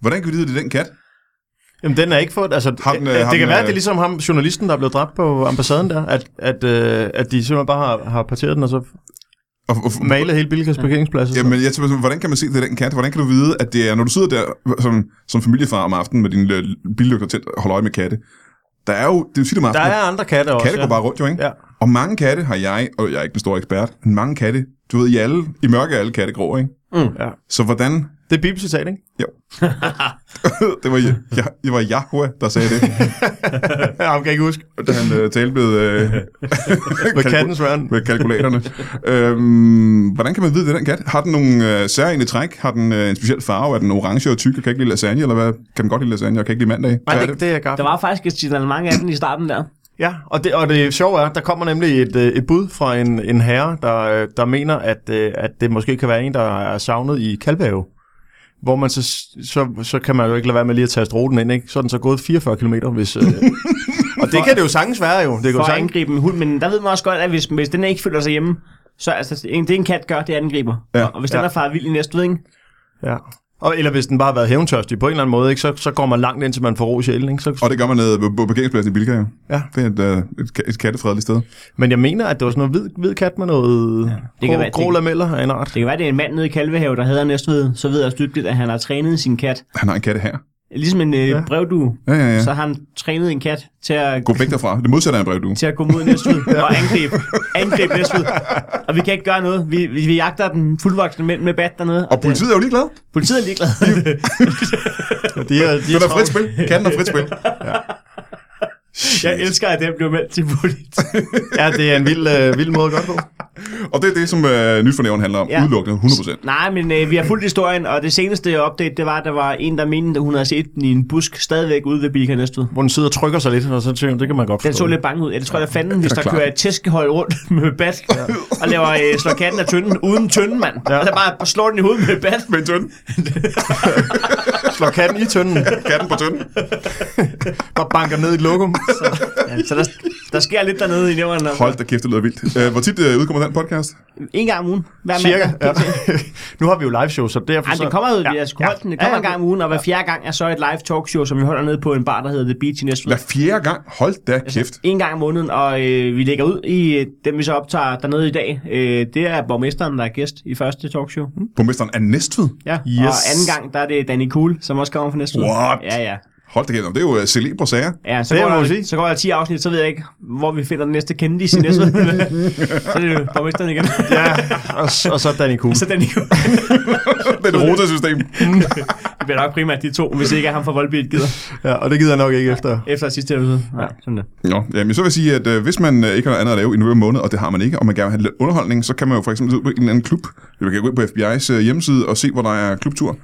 Speaker 1: Hvordan kan vi vide, at det er den kat?
Speaker 3: Jamen, den er ikke for... Altså,
Speaker 1: Ham,
Speaker 3: ham,
Speaker 1: øh,
Speaker 3: det, det
Speaker 1: ham,
Speaker 3: kan være, at det
Speaker 1: øh,
Speaker 3: er ligesom ham, journalisten, der er blevet dræbt på ambassaden der, at, at, øh, at de simpelthen bare har, har parteret den, og så
Speaker 1: Og, og,
Speaker 3: malet hele Bilkas parkeringsplads. og sådan
Speaker 1: Jamen, jeg tænker, sådan, hvordan kan man se, at det er den kat? Hvordan kan du vide, at det er, når du sidder der som, som familiefar om aftenen med din øh, billygter tændt og holder øje med katte? Der er jo, det er jo tit om
Speaker 3: Der
Speaker 1: aftenen,
Speaker 3: er andre katte også.
Speaker 1: katte går bare rundt jo, ikke?
Speaker 3: Ja.
Speaker 1: Og mange katte har jeg, og jeg er ikke den store ekspert, men mange katte, du ved, i, alle, i mørke er alle katte grå, ikke?
Speaker 3: Mm. Ja.
Speaker 1: Så hvordan,
Speaker 3: Det er bibelcitat, ikke?
Speaker 1: det var, jeg, det var Yahweh, der sagde det,
Speaker 3: Ja, ham kan jeg ikke huske.
Speaker 1: da han øh, talte med, øh,
Speaker 3: Med
Speaker 1: kalkul-
Speaker 3: kattens verden.
Speaker 1: med kalkulaterne. øhm, hvordan kan man vide, det er den kat? Har den nogle øh, særlige træk? Har den øh, en speciel farve? Er den orange og tyk og kan ikke lide lasagne? Eller hvad? Kan den godt lide lasagne og kan ikke lide mandag? Hvad
Speaker 3: Nej,
Speaker 1: er
Speaker 3: det, det er gaffel.
Speaker 2: Der var faktisk et signalement af den i starten der.
Speaker 3: Ja, og det, og det sjove er, der kommer nemlig et, øh, et bud fra en, en herre, der, øh, der mener, at, øh, at det måske kan være en, der er savnet i Kalvehave. Hvor man så, så, så kan man jo ikke lade være med lige at tage struten ind, ikke? Så er den så gået 44 km, hvis... Øh, og det kan det jo sagtens være jo. Det kan jo
Speaker 2: For at
Speaker 3: sagtens.
Speaker 2: angribe en hund, men der ved man også godt, at hvis, hvis den ikke føler sig hjemme, så altså, en- det en kat gør, det angriber.
Speaker 1: Ja.
Speaker 2: Ja. Og hvis den
Speaker 3: Ja.
Speaker 2: er faret vild i næste ikke?
Speaker 3: Ja. Og, eller hvis den bare har været hævntørstig på en eller anden måde, ikke? Så, så går man langt ind, til man får ro i sjælen, ikke? Så,
Speaker 1: Og det gør man nede på på parkeringspladsen i Bilka, jo.
Speaker 3: Ja.
Speaker 1: Det er et, øh, et, ka- et kattefredeligt sted.
Speaker 3: Men jeg mener, at det var sådan noget hvid, hvid kat med noget
Speaker 2: kan
Speaker 3: ja, grå,
Speaker 2: være- det
Speaker 3: grå
Speaker 2: kan-
Speaker 3: lameller af en art.
Speaker 2: Det kan være, det er en mand nede i Kalvehave, der hedder Næstved, så ved jeg styrkeligt, at han har trænet sin kat.
Speaker 1: Han har en katte her.
Speaker 2: Ligesom en øh,
Speaker 3: Ja.
Speaker 2: brevdue,
Speaker 1: Ja, ja, ja.
Speaker 2: så har han trænet en kat til at,
Speaker 1: Gå væk derfra. Det modsatte er en brevdue.
Speaker 2: til at gå mod Næstved og angribe, angribe Næstved. Og vi kan ikke gøre noget. Vi, vi, vi jagter den fuldvoksne mænd med bat dernede.
Speaker 1: Og politiet er jo ligeglad.
Speaker 2: Det, politiet er ligeglad.
Speaker 3: De er, de
Speaker 1: Den
Speaker 3: er
Speaker 1: er frit spil. Katten er frit spil.
Speaker 2: Jeg elsker, at den blev meldt til politiet.
Speaker 3: ja, det er en vild, øh, vild måde at gøre det på.
Speaker 1: Og det er det, som øh, nyt for nævn handler om. Ja.
Speaker 2: Ja.
Speaker 1: Udelukkende 100%.
Speaker 2: Nej, men øh, vi har fulgt historien, og det seneste update, det var, at der var en, der mente, at hun havde set den i en busk stadigvæk ude ved Bilka Næstved.
Speaker 3: Hvor den sidder og trykker sig lidt, og så tænker jeg, det kan man godt forstå.
Speaker 2: Den så lidt bange ud. Ja, det tror jeg da fanden, hvis
Speaker 1: er
Speaker 2: der
Speaker 1: klart.
Speaker 2: kører et tæskehold rundt med bat, ja. og laver, øh, slår katten af tynden uden tynden, mand. Ja. Altså bare slår den i hovedet med bat.
Speaker 1: Men tynd.
Speaker 3: Slår katten i tønden,
Speaker 1: Katten på tynd.
Speaker 3: bare banker ned i et lokum.
Speaker 2: Ja, så der, der sker lidt dernede i nævnerne.
Speaker 1: Hold da kæft, det lyder vildt. Øh, hvor tit øh, udkommer den podcast?
Speaker 2: En gang om ugen. Hver
Speaker 3: Cirka.
Speaker 2: mandag.
Speaker 3: Ja. nu har vi jo live show, så derfor
Speaker 2: Ej,
Speaker 3: så...
Speaker 2: det kommer jo, ja. sgu
Speaker 3: Ja.
Speaker 2: holdt den. Det kommer
Speaker 3: Ja, ja.
Speaker 2: en gang om ugen, og hver fjerde gang er så et live talkshow, som vi holder nede på en bar, der hedder The Beach i Næstved.
Speaker 1: Hver fjerde gang. Hold da kæft.
Speaker 2: En gang om måneden, og øh, vi lægger ud i øh, dem, vi så optager dernede i dag. Øh, det er borgmesteren, der er gæst i første talkshow. Mm.
Speaker 1: Borgmesteren er Næstved.
Speaker 2: Ja.
Speaker 3: Yes.
Speaker 2: Og anden gang, der er det Danny Cool, som også kommer fra Næstved.
Speaker 1: What?
Speaker 2: Ja, ja.
Speaker 1: Hold da kæft. Det er jo øh, celebre sager.
Speaker 2: Ja, så,
Speaker 3: Det
Speaker 2: det går
Speaker 3: må man
Speaker 2: der,
Speaker 3: sige.
Speaker 2: så går der 10 afsnit, så ved jeg ikke, hvor vi finder den næste Kennedy i næste. så er det jo borgmesteren igen.
Speaker 3: Ja, og, s- og så Danny Kuhn.
Speaker 2: så den
Speaker 1: det er et rotesystem.
Speaker 2: det bliver nok primært de to, hvis ikke er ham fra Volbeat gider.
Speaker 3: Ja, og det gider jeg nok ikke efter.
Speaker 2: Efter sidste episode. Ja, sådan det.
Speaker 1: Nå, jamen, så vil jeg sige, at øh, hvis man øh, ikke har noget andet at lave i november måned, og det har man ikke, og man gerne vil have lidt underholdning, så kan man jo for eksempel ud på en eller anden klub. Man kan gå ind på FBI's øh, hjemmeside og se, hvor der er klubtur.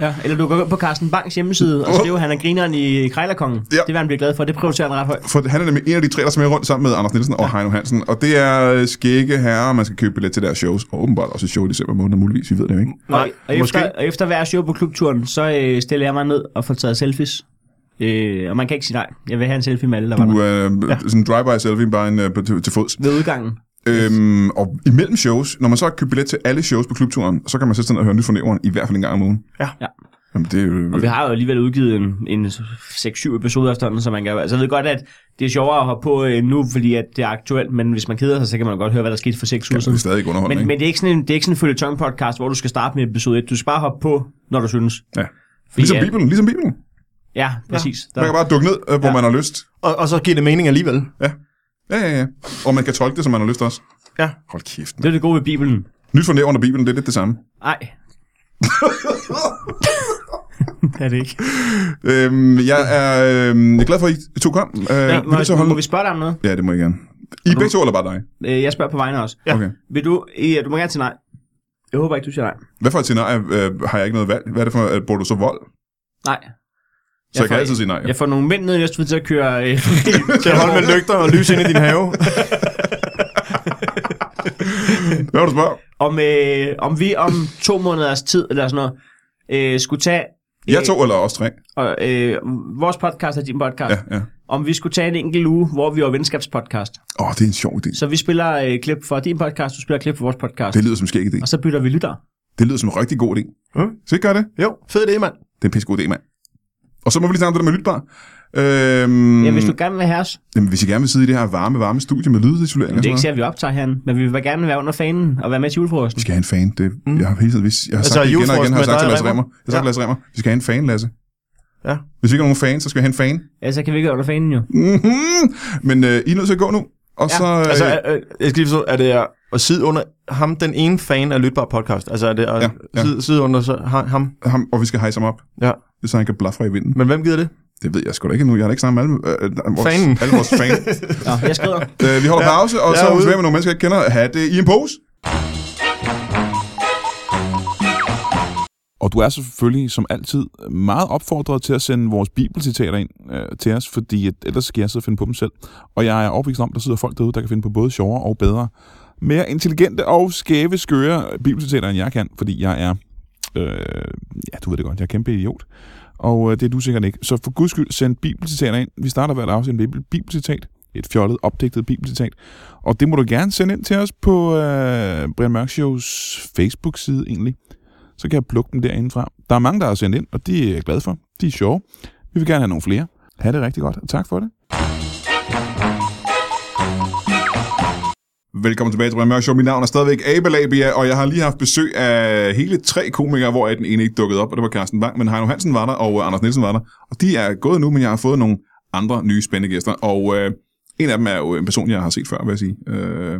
Speaker 2: Ja, eller du går ind på Carsten Bangs hjemmeside og skriver, at han er grineren i Krejlerkongen.
Speaker 1: Ja.
Speaker 2: Ja. Det vil han blive glad for. Det prioriterer han ret højt.
Speaker 1: For han er nemlig en af de tre, der smager rundt sammen med Anders Nielsen og Heino Hansen. Og det er øh, skægge herrer, man skal købe billet til deres shows. Og åbenbart også et show i december måned, muligvis, vi ved det jo ikke.
Speaker 3: Nej,
Speaker 2: og,
Speaker 3: måske.
Speaker 2: efter, og efter hver show på klubturen, så øh, stiller jeg mig ned og får taget selfies. Øh, og man kan ikke sige nej. Jeg vil have en selfie med alle, der var der.
Speaker 1: Du er øh, sådan en drive-by selfie bare en, øh, på- til, til fods.
Speaker 2: Ved udgangen.
Speaker 1: Øhm, og imellem shows, når man så har købt billet til alle shows på klubturen, så kan man sætte sig ned og høre nyt fornæveren i hvert fald en gang om ugen.
Speaker 3: Ja.
Speaker 2: Ja.
Speaker 1: Jamen, det er jo...
Speaker 2: Og vi har jo alligevel udgivet en, en 6-7 episoder efterhånden, så man kan... Altså, jeg ved godt, at det er sjovere at hoppe på øh, nu, fordi at det er aktuelt, men hvis man keder sig, så kan man godt høre, hvad der skete for 6 uger
Speaker 1: det er
Speaker 2: siden.
Speaker 1: stadig underholdning.
Speaker 2: Men, men det er ikke sådan en, det er ikke sådan en følgetong podcast, hvor du skal starte med episode 1. Du skal bare hoppe på, når du synes.
Speaker 1: Ja.
Speaker 2: Fordi,
Speaker 1: Ligesom
Speaker 2: at-
Speaker 1: Bibelen, ligesom Bibelen.
Speaker 2: Ja, præcis. Ja.
Speaker 1: Man kan
Speaker 2: Der,
Speaker 1: bare dukke ned, øh, hvor
Speaker 2: Ja.
Speaker 1: man har lyst.
Speaker 3: Og, og så giver det mening alligevel.
Speaker 1: Ja, ja, ja. Og man kan tolke det, som man har lyst til også.
Speaker 3: Ja.
Speaker 1: Hold kæft.
Speaker 2: det er det gode ved Bibelen.
Speaker 1: Nyt for nævren og Bibelen, det er lidt det samme.
Speaker 2: Nej. det er det ikke.
Speaker 1: Øhm, jeg er øhm, jeg er glad for, at I to kom. Øh,
Speaker 2: Ja,
Speaker 1: vil du så
Speaker 2: må,
Speaker 1: holde...
Speaker 2: må vi spørge dig om noget?
Speaker 1: Ja, det må jeg gerne. I begge to, eller bare dig?
Speaker 2: Øh, Jeg spørger på vegne også.
Speaker 3: Ja.
Speaker 1: Okay.
Speaker 2: Vil du... Ja, du må gerne sige nej. Jeg håber ikke, du siger nej.
Speaker 1: Hvad for et scenarie øh, har jeg ikke noget valg? Hvad er det for, øh, bruger du så vold?
Speaker 2: Nej.
Speaker 1: Så jeg, jeg kan altid sige nej.
Speaker 2: Jeg får nogle mænd ned i Næstved til at køre... Øh,
Speaker 3: Til at holde med lygter og lys ind i din have.
Speaker 1: Hvad vil du spørge?
Speaker 2: om, øh, om vi om to måneders tid, eller sådan noget, øh, skulle tage
Speaker 1: Jeg to eller også tre.
Speaker 2: Og, øh, vores podcast er din podcast.
Speaker 1: Ja, ja.
Speaker 2: Om vi skulle tage en enkelt uge, hvor vi var venskabspodcast.
Speaker 1: Åh, oh, det er en sjov idé.
Speaker 2: Så vi spiller øh, klip fra din podcast, du spiller klip fra vores podcast.
Speaker 1: Det lyder som en skæg idé.
Speaker 2: Og så bytter vi lytter.
Speaker 1: Det lyder som en rigtig god idé.
Speaker 3: Mm.
Speaker 1: Så vi gør det.
Speaker 3: Jo, fed idé, mand.
Speaker 1: Det er en pissegod idé, mand. Og så må vi lige snakke om det der med lytbar. Øhm,
Speaker 2: Mm. Ja, hvis du gerne vil have os.
Speaker 1: jamen, hvis I gerne vil sidde i det her varme, varme studie med lydisolering og sådan
Speaker 2: Det er ikke
Speaker 1: noget.
Speaker 2: sikkert, vi optager herinde, men vi vil bare gerne være under fanen og være med til
Speaker 1: Vi
Speaker 2: julefrokosten.
Speaker 1: skal have en fan. Det, mm. Jeg har hele tiden vist, jeg har
Speaker 3: Altså,
Speaker 1: sagt det igen og igen,
Speaker 3: julefrokosten
Speaker 1: har jeg
Speaker 3: med
Speaker 1: sagt til
Speaker 3: dig og
Speaker 1: Lasse Remmer.
Speaker 3: Remmer.
Speaker 1: Jeg har sagt til Lasse Remmer, vi skal have en fan, Lasse.
Speaker 3: Ja.
Speaker 1: Hvis vi ikke har nogen fan, så skal vi have en fan.
Speaker 2: Ja, så kan vi ikke være under fanen jo.
Speaker 1: Mm-hmm. Men øh, I er nødt til at gå nu. Og
Speaker 2: Ja,
Speaker 1: så... Øh,
Speaker 3: Altså, er, er- jeg skal lige forstå, er det at- at sidde under ham, den ene fan af Lytbar Podcast? Altså, er det at
Speaker 1: Ja,
Speaker 3: ja,
Speaker 1: ja.
Speaker 3: ja. Sidde, sidde under så, ha, ham?
Speaker 1: ham, og vi skal hejse ham op,
Speaker 3: Ja.
Speaker 1: så han kan blafre i vinden.
Speaker 3: Men hvem gider det?
Speaker 1: Det ved jeg sgu da ikke nu. Jeg har da ikke snakket med alle, øh, øh, vores,
Speaker 3: Fanen.
Speaker 1: alle vores fan.
Speaker 2: Nå, jeg skrider.
Speaker 1: øh, vi holder pause, og
Speaker 3: jeg
Speaker 1: så
Speaker 3: er
Speaker 1: er vi
Speaker 3: ude.
Speaker 1: tilbage med nogle mennesker, jeg ikke kender. Ha' det i en pose.
Speaker 4: Og du er selvfølgelig som altid meget opfordret til at sende vores bibelcitater ind øh, til os, fordi at ellers skal jeg sidde og finde på dem selv. Og jeg er overbevist om, at der sidder folk derude, der kan finde på både sjovere og bedre, mere intelligente og skæve, skøre bibelcitater, end jeg kan, fordi jeg er, øh, ja du ved det godt, jeg er kæmpe idiot. Og øh, det er du sikkert ikke. Så for guds skyld, send bibelcitater ind. Vi starter hvert afsnit med et bibel- bibelcitat. Et fjollet, opdigtet bibelcitat. Og det må du gerne sende ind til os på øh, Brian Mørk Shows Facebook-side egentlig så kan jeg plukke dem derindefra. Der er mange, der har sendt ind, og det er jeg glad for. De er sjove. Vi vil gerne have nogle flere. Ha' det rigtig godt, og tak for det.
Speaker 1: Velkommen tilbage til Brian Mørk Show. Mit navn er stadigvæk Abelabia, og jeg har lige haft besøg af hele tre komikere, hvor den ene ikke dukkede op, og det var Carsten Bang, men Heino Hansen var der, og øh, Anders Nielsen var der. Og de er gået nu, men jeg har fået nogle andre nye spændende gæster, og øh, en af dem er jo en person, jeg har set før, vil jeg sige. Øh,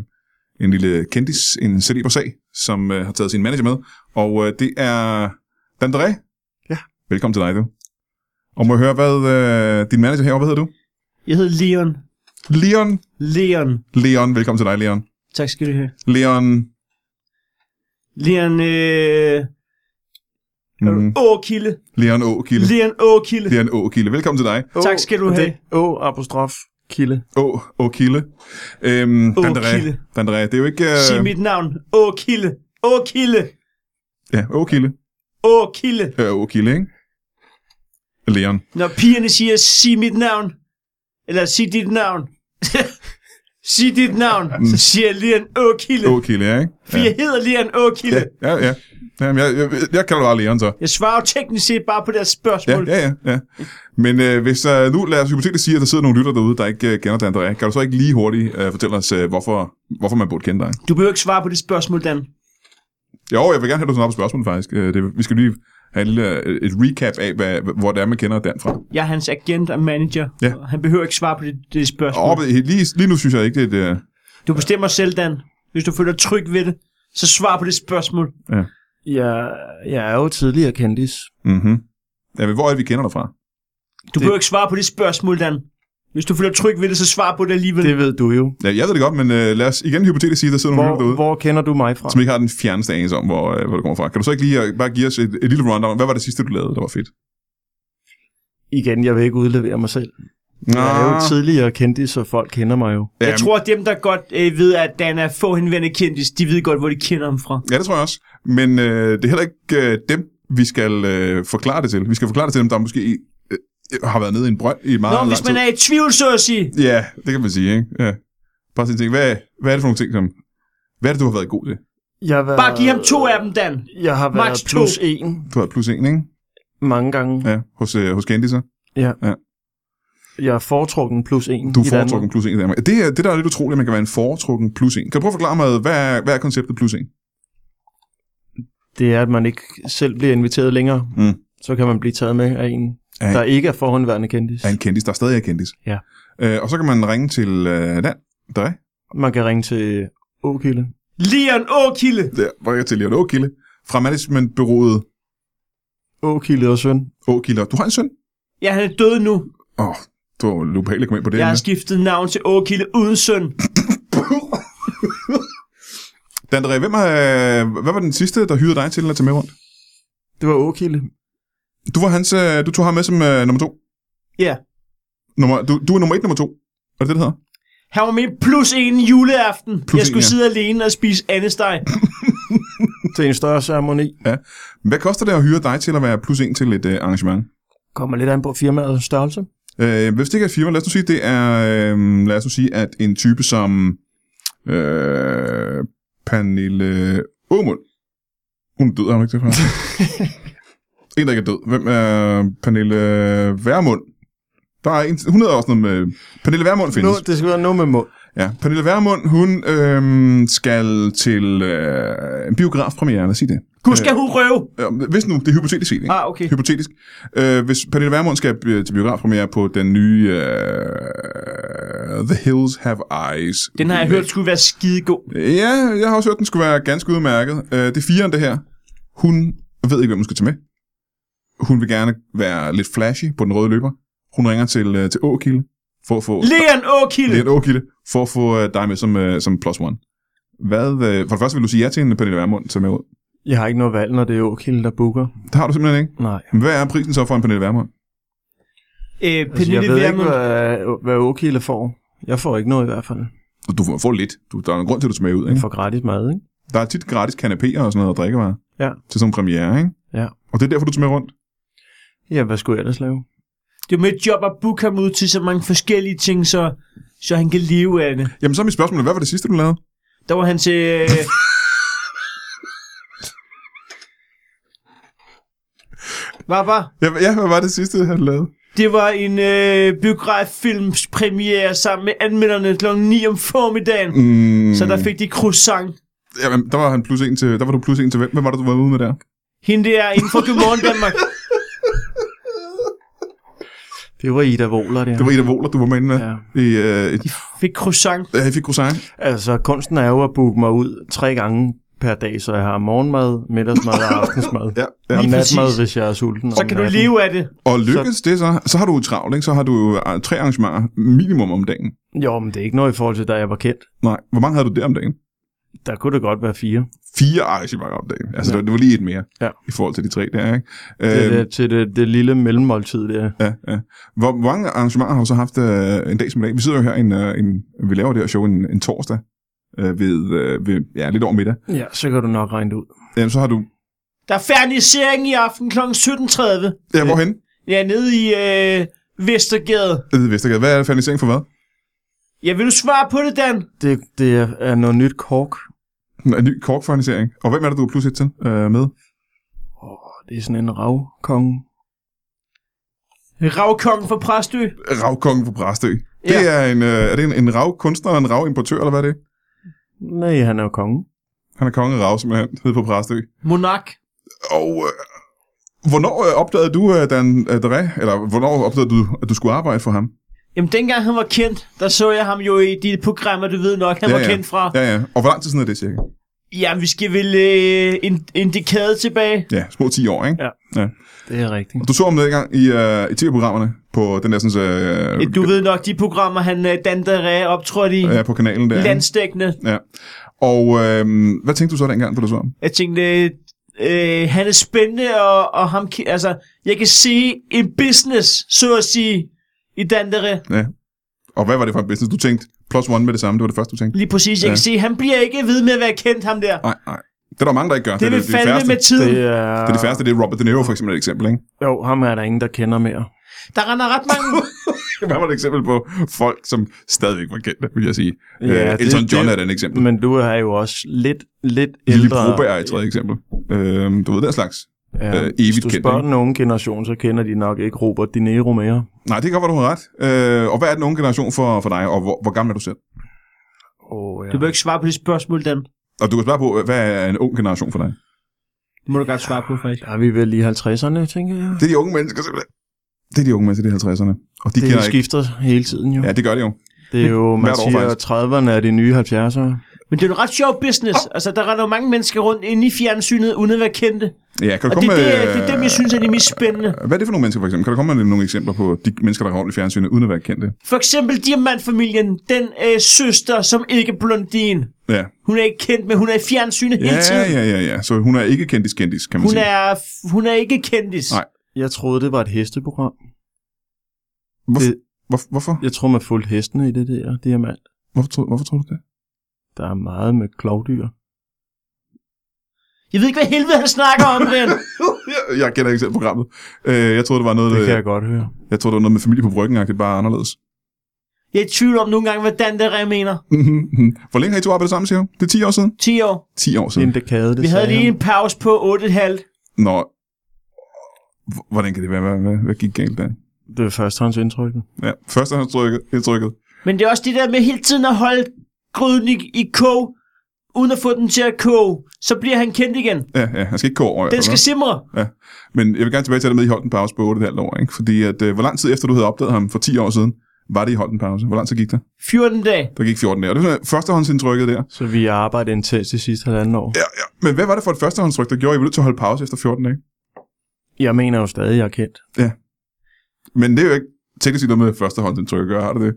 Speaker 1: en lille kendis, en CD på sag, som øh, har taget sin manager med, og øh, det er Dan Dre.
Speaker 3: Ja.
Speaker 1: Velkommen til dig, du. Og må jeg høre, hvad øh, din manager herovre, hvad hedder du?
Speaker 2: Jeg hedder Leon.
Speaker 1: Leon.
Speaker 2: Leon.
Speaker 1: Leon, velkommen til dig, Leon.
Speaker 2: Tak skal du have.
Speaker 1: Leon.
Speaker 2: Leon, øh...
Speaker 1: Mm,
Speaker 2: Åkilde.
Speaker 1: Leon Åkilde.
Speaker 2: Leon Åkilde.
Speaker 1: Det er en åkilde. Velkommen til dig.
Speaker 2: Tak skal du
Speaker 3: Åh,
Speaker 2: have.
Speaker 3: det- Åh, apostrof, kilde.
Speaker 1: Å, åkilde. Øhm,
Speaker 2: Åkilde.
Speaker 1: Dandere. Dandere. Det er jo ikke...
Speaker 2: Sig
Speaker 1: Øh,
Speaker 2: mit navn. Åkilde. Åkilde.
Speaker 1: ja, åkilde.
Speaker 2: Åkilde.
Speaker 1: Øh, åkilde, ikke? Leon.
Speaker 2: Når pigerne siger, sig mit navn. Eller sig dit navn. sig dit navn. Så siger jeg Leon Åkilde.
Speaker 1: Åkilde, Mm. ja, ikke?
Speaker 2: For jeg hedder Leon
Speaker 1: Ja,
Speaker 2: Åkilde.
Speaker 1: ja, ja. Jamen, jeg, jeg, jeg kalder dig bare Leon, så.
Speaker 2: Jeg svarer jo teknisk set bare på deres
Speaker 1: Ja,
Speaker 2: spørgsmål.
Speaker 1: ja, ja. ja. Men øh, hvis øh, nu, lad os hypotetisk sige, at der sidder nogle lytter derude, der ikke øh, kender Dandere, kan du så ikke lige hurtigt øh, fortælle os, øh, hvorfor, hvorfor man burde kende dig?
Speaker 2: Du behøver ikke svare på det spørgsmål, Dan.
Speaker 1: Jo, jeg vil gerne have, at du snakker på spørgsmål, faktisk. Øh, det, vi skal lige have en lille, øh, et recap af, hvad, hvor det er, man kender Dan fra.
Speaker 2: Jeg er hans agent og manager.
Speaker 1: Ja.
Speaker 2: og Han behøver ikke svare på det, det spørgsmål.
Speaker 1: Og, lige, lige nu synes jeg ikke, det er et... Øh,
Speaker 2: Du bestemmer selv, Dan. Hvis du føler tryg ved det, så svar på det spørgsmål.
Speaker 3: Jeg, jeg er jo tidligere kendis.
Speaker 1: Mm-hmm. Ja, men hvor er det, vi kender dig fra?
Speaker 2: Du det... behøver ikke svare på det spørgsmål, Dan. Hvis du føler tryg ved det, så svar på det alligevel. Det...
Speaker 3: Det ved du jo.
Speaker 1: Ja, jeg ved det godt, men øh, lad os igen hypotetisk sige, at der sidder nogle lytter
Speaker 3: Hvor,
Speaker 1: derude,
Speaker 3: hvor kender du mig fra?
Speaker 1: som ikke har den fjerneste anelse om, hvor, øh, hvor du kommer fra. Kan du så ikke lige øh, bare give os et, et lille rundown? Hvad var det sidste, du lavede, der var fedt?
Speaker 3: Igen, jeg vil ikke udlevere mig selv.
Speaker 1: Nå,
Speaker 3: Jeg er jo tidligere kendis, så folk kender mig jo.
Speaker 2: Jeg tror, at dem, der godt øh, ved, at Dan er få henvendte kendis, de ved godt, hvor de kender ham fra.
Speaker 1: Ja, det tror jeg også. Men øh, det er heller ikke øh, dem, vi skal øh, forklare det til. Vi skal forklare det til dem, der måske øh, har været nede i en brønd i meget
Speaker 2: Nå,
Speaker 1: lang
Speaker 2: hvis man
Speaker 1: tid.
Speaker 2: er i tvivl, så at sige.
Speaker 1: Ja, det kan man sige, ikke? Ja. Bare sådan ting. Hvad, hvad er det for nogle ting, som... Hvad er det, du har været god til?
Speaker 3: Jeg har været,
Speaker 2: Bare giv ham to af dem, Dan.
Speaker 3: Jeg har været
Speaker 2: Max to.
Speaker 3: plus en
Speaker 1: Du har været plus en, ikke?
Speaker 3: mange gange.
Speaker 1: Ja, hos, øh, hos Candicer.
Speaker 3: Jeg er foretrukken plus en
Speaker 1: Du
Speaker 3: i
Speaker 1: er foretrukken
Speaker 3: Danmark.
Speaker 1: plus en i Danmark. Det, er, det der er lidt utroligt, at man kan være en foretrukken plus en. Kan du prøve at forklare mig, hvad er, hvad er konceptet plus en?
Speaker 3: Det er, at man ikke selv bliver inviteret længere.
Speaker 1: Mm.
Speaker 3: Så kan man blive taget med af en,
Speaker 1: Af-
Speaker 3: der ikke er forhåndværende kendis.
Speaker 1: Er en kendis, der stadig er kendis.
Speaker 3: Ja.
Speaker 1: Øh, og så kan man ringe til øh, Dan. Dig.
Speaker 3: Man kan ringe til Åkilde.
Speaker 2: Leon Åkilde.
Speaker 1: Der var jeg til Leon Åkilde. Fra managementbyrået
Speaker 3: Åkilde og søn.
Speaker 1: Åkilde. Du har en søn?
Speaker 2: Ja, han er død nu.
Speaker 1: Åh, oh, du var lupale kom ind på det.
Speaker 2: Jeg har
Speaker 1: emne.
Speaker 2: skiftet navn til Åkilde uden søn.
Speaker 1: Dan Dre, hvem er, hvad var den sidste, der hyrede dig til at tage med rundt?
Speaker 3: Det var Åkilde.
Speaker 1: Du, var hans, øh, du tog ham med som øh, nummer to.
Speaker 2: Ja.
Speaker 1: Nummer, du, du er nummer et, nummer to. Er det det, det hedder?
Speaker 2: Han var min plus en juleaften.
Speaker 1: Plus
Speaker 2: jeg
Speaker 1: en,
Speaker 2: skulle
Speaker 1: ja.
Speaker 2: sidde alene og spise andesteg.
Speaker 3: til en større ceremoni.
Speaker 1: Hvad koster det at hyre dig til at være plus en til et øh, arrangement?
Speaker 3: Kommer lidt an på firmaets størrelse.
Speaker 1: Øh, hvis det ikke er et firma, lad os nu sige, det er, øh, lad os nu sige, at en type som øh, Pernille Aumund, hun er død, er hun ikke det? Pernille? en, der ikke er død. Hvem er Pernille Værmund? Der er en, hun hedder også noget med... Pernille Værmund findes.
Speaker 3: Nu, det skal være noget med mål.
Speaker 1: Ja, Pernille Vermund, hun øhm, skal til øh, en biografpremiere, lad os sige det.
Speaker 2: Gud, skal hun røve?
Speaker 1: Øh, hvis nu, det er hypotetisk set, ikke?
Speaker 2: Ah, okay.
Speaker 1: Hypotetisk. Øh, hvis Pernille Vermund skal øh, til biografpremiere på den nye øh, The Hills Have Eyes.
Speaker 2: Den har jeg hørt skulle være skidegod.
Speaker 1: Ja, jeg har også hørt, den skulle være ganske udmærket. Øh, det er firen, det her. Hun ved ikke, hvem hun skal tage med. Hun vil gerne være lidt flashy på den røde løber. Hun ringer til, øh, til Åkilde for at få...
Speaker 2: Leon Åkilde!
Speaker 1: Lidt åkilde, for at få øh, dig med som, øh, som plus one. Hvad, øh, for det første vil du sige ja til en Pernille Vermund til med ud.
Speaker 3: Jeg har ikke noget valg, når det er Åkilde, der booker.
Speaker 1: Det har du simpelthen ikke.
Speaker 3: Nej.
Speaker 1: Men Hvad er prisen så for en Pernille Vermund?
Speaker 2: Øh,
Speaker 3: Altså, jeg
Speaker 2: Pernille
Speaker 3: ved
Speaker 2: Vermund.
Speaker 3: ikke, hvad, hvad Åkilde får. Jeg får ikke noget i hvert fald.
Speaker 1: Du får- får lidt. Du, der er en grund til, at du smager ud.
Speaker 3: Jeg
Speaker 1: Ikke?
Speaker 3: får gratis mad, ikke?
Speaker 1: Der er tit gratis kanapéer og sådan noget og drikkevarer
Speaker 3: Ja.
Speaker 1: til sådan en premiere, ikke?
Speaker 3: Ja.
Speaker 1: Og det er derfor, du smager rundt.
Speaker 3: Ja, hvad skulle jeg ellers lave?
Speaker 2: Det er mit job at booke ham ud til så mange forskellige ting, så, så han kan leve af det.
Speaker 1: Jamen, så er mit spørgsmål, hvad var det sidste, du lavede?
Speaker 2: Der var han til... Øh, Hvad var?
Speaker 1: Ja, ja, hvad var det sidste, han lavede?
Speaker 2: Det var en øh, biograffilmspremiere sammen med anmelderne kl. 9 om formiddagen. Mm.
Speaker 1: Mm,
Speaker 2: Så der fik de croissant.
Speaker 1: Jamen, der var, han plus en til, der var du plus en til hvem? Hvem var det, du var ude med der?
Speaker 2: Hende der inden for Godmorgen Danmark.
Speaker 3: Det var Ida Wohler, det,
Speaker 1: Det var Ida Wohler, du var med inde med.
Speaker 3: Ja.
Speaker 1: I, øh, et,
Speaker 2: Fik croissant.
Speaker 1: ja, jeg fik croissant.
Speaker 3: Altså, kunsten er jo at booke mig ud tre gange per dag, så jeg har morgenmad, middagsmad og aftensmad.
Speaker 1: Ja, ja.
Speaker 3: Og
Speaker 2: Lige præcis.
Speaker 3: natmad, hvis jeg er sulten.
Speaker 2: Så
Speaker 3: om
Speaker 2: kan du
Speaker 3: natten.
Speaker 2: leve af det.
Speaker 1: Og lykkes så... det så, så har du jo travlt, ikke? Så har du jo øh, tre arrangementer minimum om dagen.
Speaker 3: Jo, men det er ikke noget i forhold til, da jeg var kendt.
Speaker 1: Nej, hvor mange havde du der om dagen?
Speaker 3: Der kunne det godt være fire.
Speaker 1: Fire arrangementer om dagen. Altså, ja. det var lige et mere
Speaker 3: Ja.
Speaker 1: i forhold til de tre der, ikke?
Speaker 3: Det,
Speaker 1: Øhm,
Speaker 3: er det, til det, det lille mellemmåltid, der.
Speaker 1: Ja, ja. Hvor, hvor mange arrangementer har du så haft øh, en dag som i dag? Vi sidder jo her, en, øh, en, vi laver det her show en, en torsdag øh, ved, øh, ved ja, lidt over middag.
Speaker 3: Ja, så kan du nok regne det ud.
Speaker 1: Jamen, så har du...
Speaker 2: Der er fernisering i aften kl. 17.30.
Speaker 1: Ja, hvorhen?
Speaker 2: Ja, nede i øh, Vestergade.
Speaker 1: Ved Vestergade. Hvad er det fernisering for hvad?
Speaker 2: Jeg vil du svare på det, Dan?
Speaker 3: Det, det er- er noget nyt kork.
Speaker 1: Nå, En ny korkfernisering. Og hvem er det, du er plus et til øh, med?
Speaker 3: Det er sådan en ravkonge.
Speaker 2: Ravkongen fra Præstø.
Speaker 1: Ravkongen fra Præstø. Det
Speaker 2: Ja.
Speaker 1: er en, øh, er det en, en ravkunstner og en ravimportør, eller hvad er det?
Speaker 3: Nej, han er jo konge.
Speaker 1: Han er konge af rav, simpelthen, nede på Præstø.
Speaker 2: Monark.
Speaker 1: Og øh, hvornår øh, opdagede du, øh, Dan øh, Dre, eller hvornår opdagede du, at du skulle arbejde for ham?
Speaker 2: Jamen, dengang han var kendt, der så jeg ham jo i de programmer, du ved nok, han ja, var
Speaker 1: ja.
Speaker 2: kendt fra. Ja.
Speaker 1: Ja, ja. Og hvor lang tid siden er det, cirka?
Speaker 2: ja, vi skal vel øh, en, en dekade tilbage.
Speaker 1: Ja, små 10 år, ikke?
Speaker 3: Det er rigtigt.
Speaker 1: Og Du så ham dengang i, øh, i tv-programmerne på den der sådan, øh,
Speaker 2: Du ved nok de programmer, han øh, Dan Dare optrådte i. Ja.
Speaker 1: ja, på kanalen der.
Speaker 2: Landstækkende.
Speaker 1: Ja. Og øh, hvad tænkte du så dengang, da du så ham?
Speaker 2: Jeg tænkte, øh, øh, han er spændende, og, og ham, ki- altså, jeg kan se en business, så at sige, i Dan Dare.
Speaker 1: Ja. Og hvad var det for en business? Du tænkte plus one med det samme. Det var det første, du tænkte.
Speaker 2: Lige præcis, jeg
Speaker 1: Ja.
Speaker 2: ja. kan se, han bliver ikke ved med at være kendt, ham der.
Speaker 1: Nej, nej. Det er der mange, der ikke gør.
Speaker 2: Det vil fandme
Speaker 1: færreste.
Speaker 2: med tiden.
Speaker 3: Det er...
Speaker 1: Det er det færreste, det er Robert De Niro for eksempel et eksempel, ikke?
Speaker 3: Jo, ham er der ingen, der kender mere.
Speaker 2: Der render ret mange...
Speaker 1: Hvad var et eksempel på folk, som stadigvæk var kendte, vil jeg sige.
Speaker 3: Ja,
Speaker 1: øh, Elton
Speaker 3: det-
Speaker 1: John
Speaker 3: det-
Speaker 1: er et eksempel.
Speaker 3: Men du er jo også lidt, lidt
Speaker 1: Lille
Speaker 3: ældre.
Speaker 1: Broberg er et tredje eksempel. Øh, du ved den slags.
Speaker 3: Ja,
Speaker 1: Øh, evigt
Speaker 3: Hvis du
Speaker 1: kendt,
Speaker 3: spørger
Speaker 1: ikke?
Speaker 3: den unge generation, så kender de nok ikke Robert De Niro mere.
Speaker 1: Nej, det kan godt være, du har ret. Øh, og hvad er den unge generation for, for dig, og hvor, hvor gammel er du selv?
Speaker 3: Oh, ja.
Speaker 2: Du må ikke svare på det spørgsmål, Dan.
Speaker 1: Og du kan spørge på, hvad er en ung generation for dig?
Speaker 2: Det må du godt svare på, faktisk.
Speaker 3: Er vi vel i 50'erne, tænker jeg?
Speaker 1: Det er de unge mennesker simpelthen. Det er de unge mennesker i 50'erne. Og de
Speaker 3: Det,
Speaker 1: kender
Speaker 3: det
Speaker 1: ikke.
Speaker 3: skifter hele tiden jo.
Speaker 1: Ja,
Speaker 3: Ja.
Speaker 1: det gør de jo.
Speaker 3: Det er jo, man
Speaker 1: Hvert år,
Speaker 3: siger,
Speaker 1: faktisk.
Speaker 3: 30'erne er de nye 70'ere.
Speaker 2: Men det er jo en ret sjov business. Altså, der render jo mange mennesker rundt inde i fjernsynet, uden at være kendte.
Speaker 1: Ja, kan du
Speaker 2: Og det,
Speaker 1: komme
Speaker 2: er det,
Speaker 1: med... øh,
Speaker 2: det er dem, jeg synes er de mest spændende.
Speaker 1: Hvad er det for nogle mennesker, for eksempel? Kan du komme med nogle eksempler på de mennesker, der har holdt i fjernsynet, uden at være kendte?
Speaker 2: For eksempel Diamantfamilien, den øh, søster, som ikke er blondin.
Speaker 1: Ja,
Speaker 2: Hun er ikke kendt, men hun er i fjernsynet
Speaker 1: ja,
Speaker 2: hele tiden.
Speaker 1: ja, ja, ja. Så hun er ikke kendtis kendtis, kan man
Speaker 2: Hun
Speaker 1: sige.
Speaker 2: er, hun er ikke kendis.
Speaker 1: Nej.
Speaker 3: Jeg troede, det var et hesteprogram.
Speaker 1: Hvorfor?
Speaker 3: det-
Speaker 1: Hvor, hvorfor?
Speaker 3: Jeg tror, man fulgte hestene i det der diamant.
Speaker 1: Hvorfor, tror, hvorfor tror du det?
Speaker 3: Der er meget med klovdyr.
Speaker 2: Jeg ved ikke, hvad helvede han snakker om, Brian.
Speaker 1: Jeg, jeg kender ikke selv programmet. Øh, jeg troede, det var noget,
Speaker 3: Det
Speaker 1: det
Speaker 3: kan jeg godt høre.
Speaker 1: jeg troede, det var noget med familie på bryggen, det bare anderledes.
Speaker 2: Jeg er i tvivl om nogle gange, hvordan det er, jeg mener.
Speaker 1: Hvor længe har I to arbejdet sammen, siger du? Det er 10 år siden?
Speaker 2: 10 år.
Speaker 1: 10 år siden.
Speaker 3: En dekade, det
Speaker 2: Vi havde
Speaker 3: sagde
Speaker 2: lige
Speaker 3: han.
Speaker 2: en pause på 8,5.
Speaker 1: Nå, H- hvordan kan det være? Hvad, hvad, hvad gik galt der?
Speaker 3: Det var førstehåndsindtrykket.
Speaker 1: Ja, førstehåndsindtrykket.
Speaker 2: Men det er også det der med hele tiden at holde gryden i, i kog, uden at få den til at koge. Så bliver han kendt igen.
Speaker 1: Ja, ja, han skal ikke gå over. i hvert
Speaker 2: Den
Speaker 1: fald,
Speaker 2: skal simre.
Speaker 1: Men jeg vil gerne tilbage til det med, at I holdt en pause på 8,5 år. Ikke? Fordi at, øh, hvor lang tid efter du havde opdaget ham for 10 år siden, var det, I holdt en pause? Hvor lang tid gik der?
Speaker 2: 14 dage.
Speaker 1: Der gik 14 dage. Og det var førstehåndsindtrykket der.
Speaker 3: Så vi arbejdede intenst de sidste halvanden år.
Speaker 1: Ja, ja. Men hvad var det for et førstehåndstryk, der gjorde, at I var nødt til at holde pause efter 14 dage?
Speaker 3: Jeg mener jo stadig, jeg er kendt.
Speaker 1: Men det er jo ikke teknisk set noget med førstehåndsindtryk at gøre, har det det?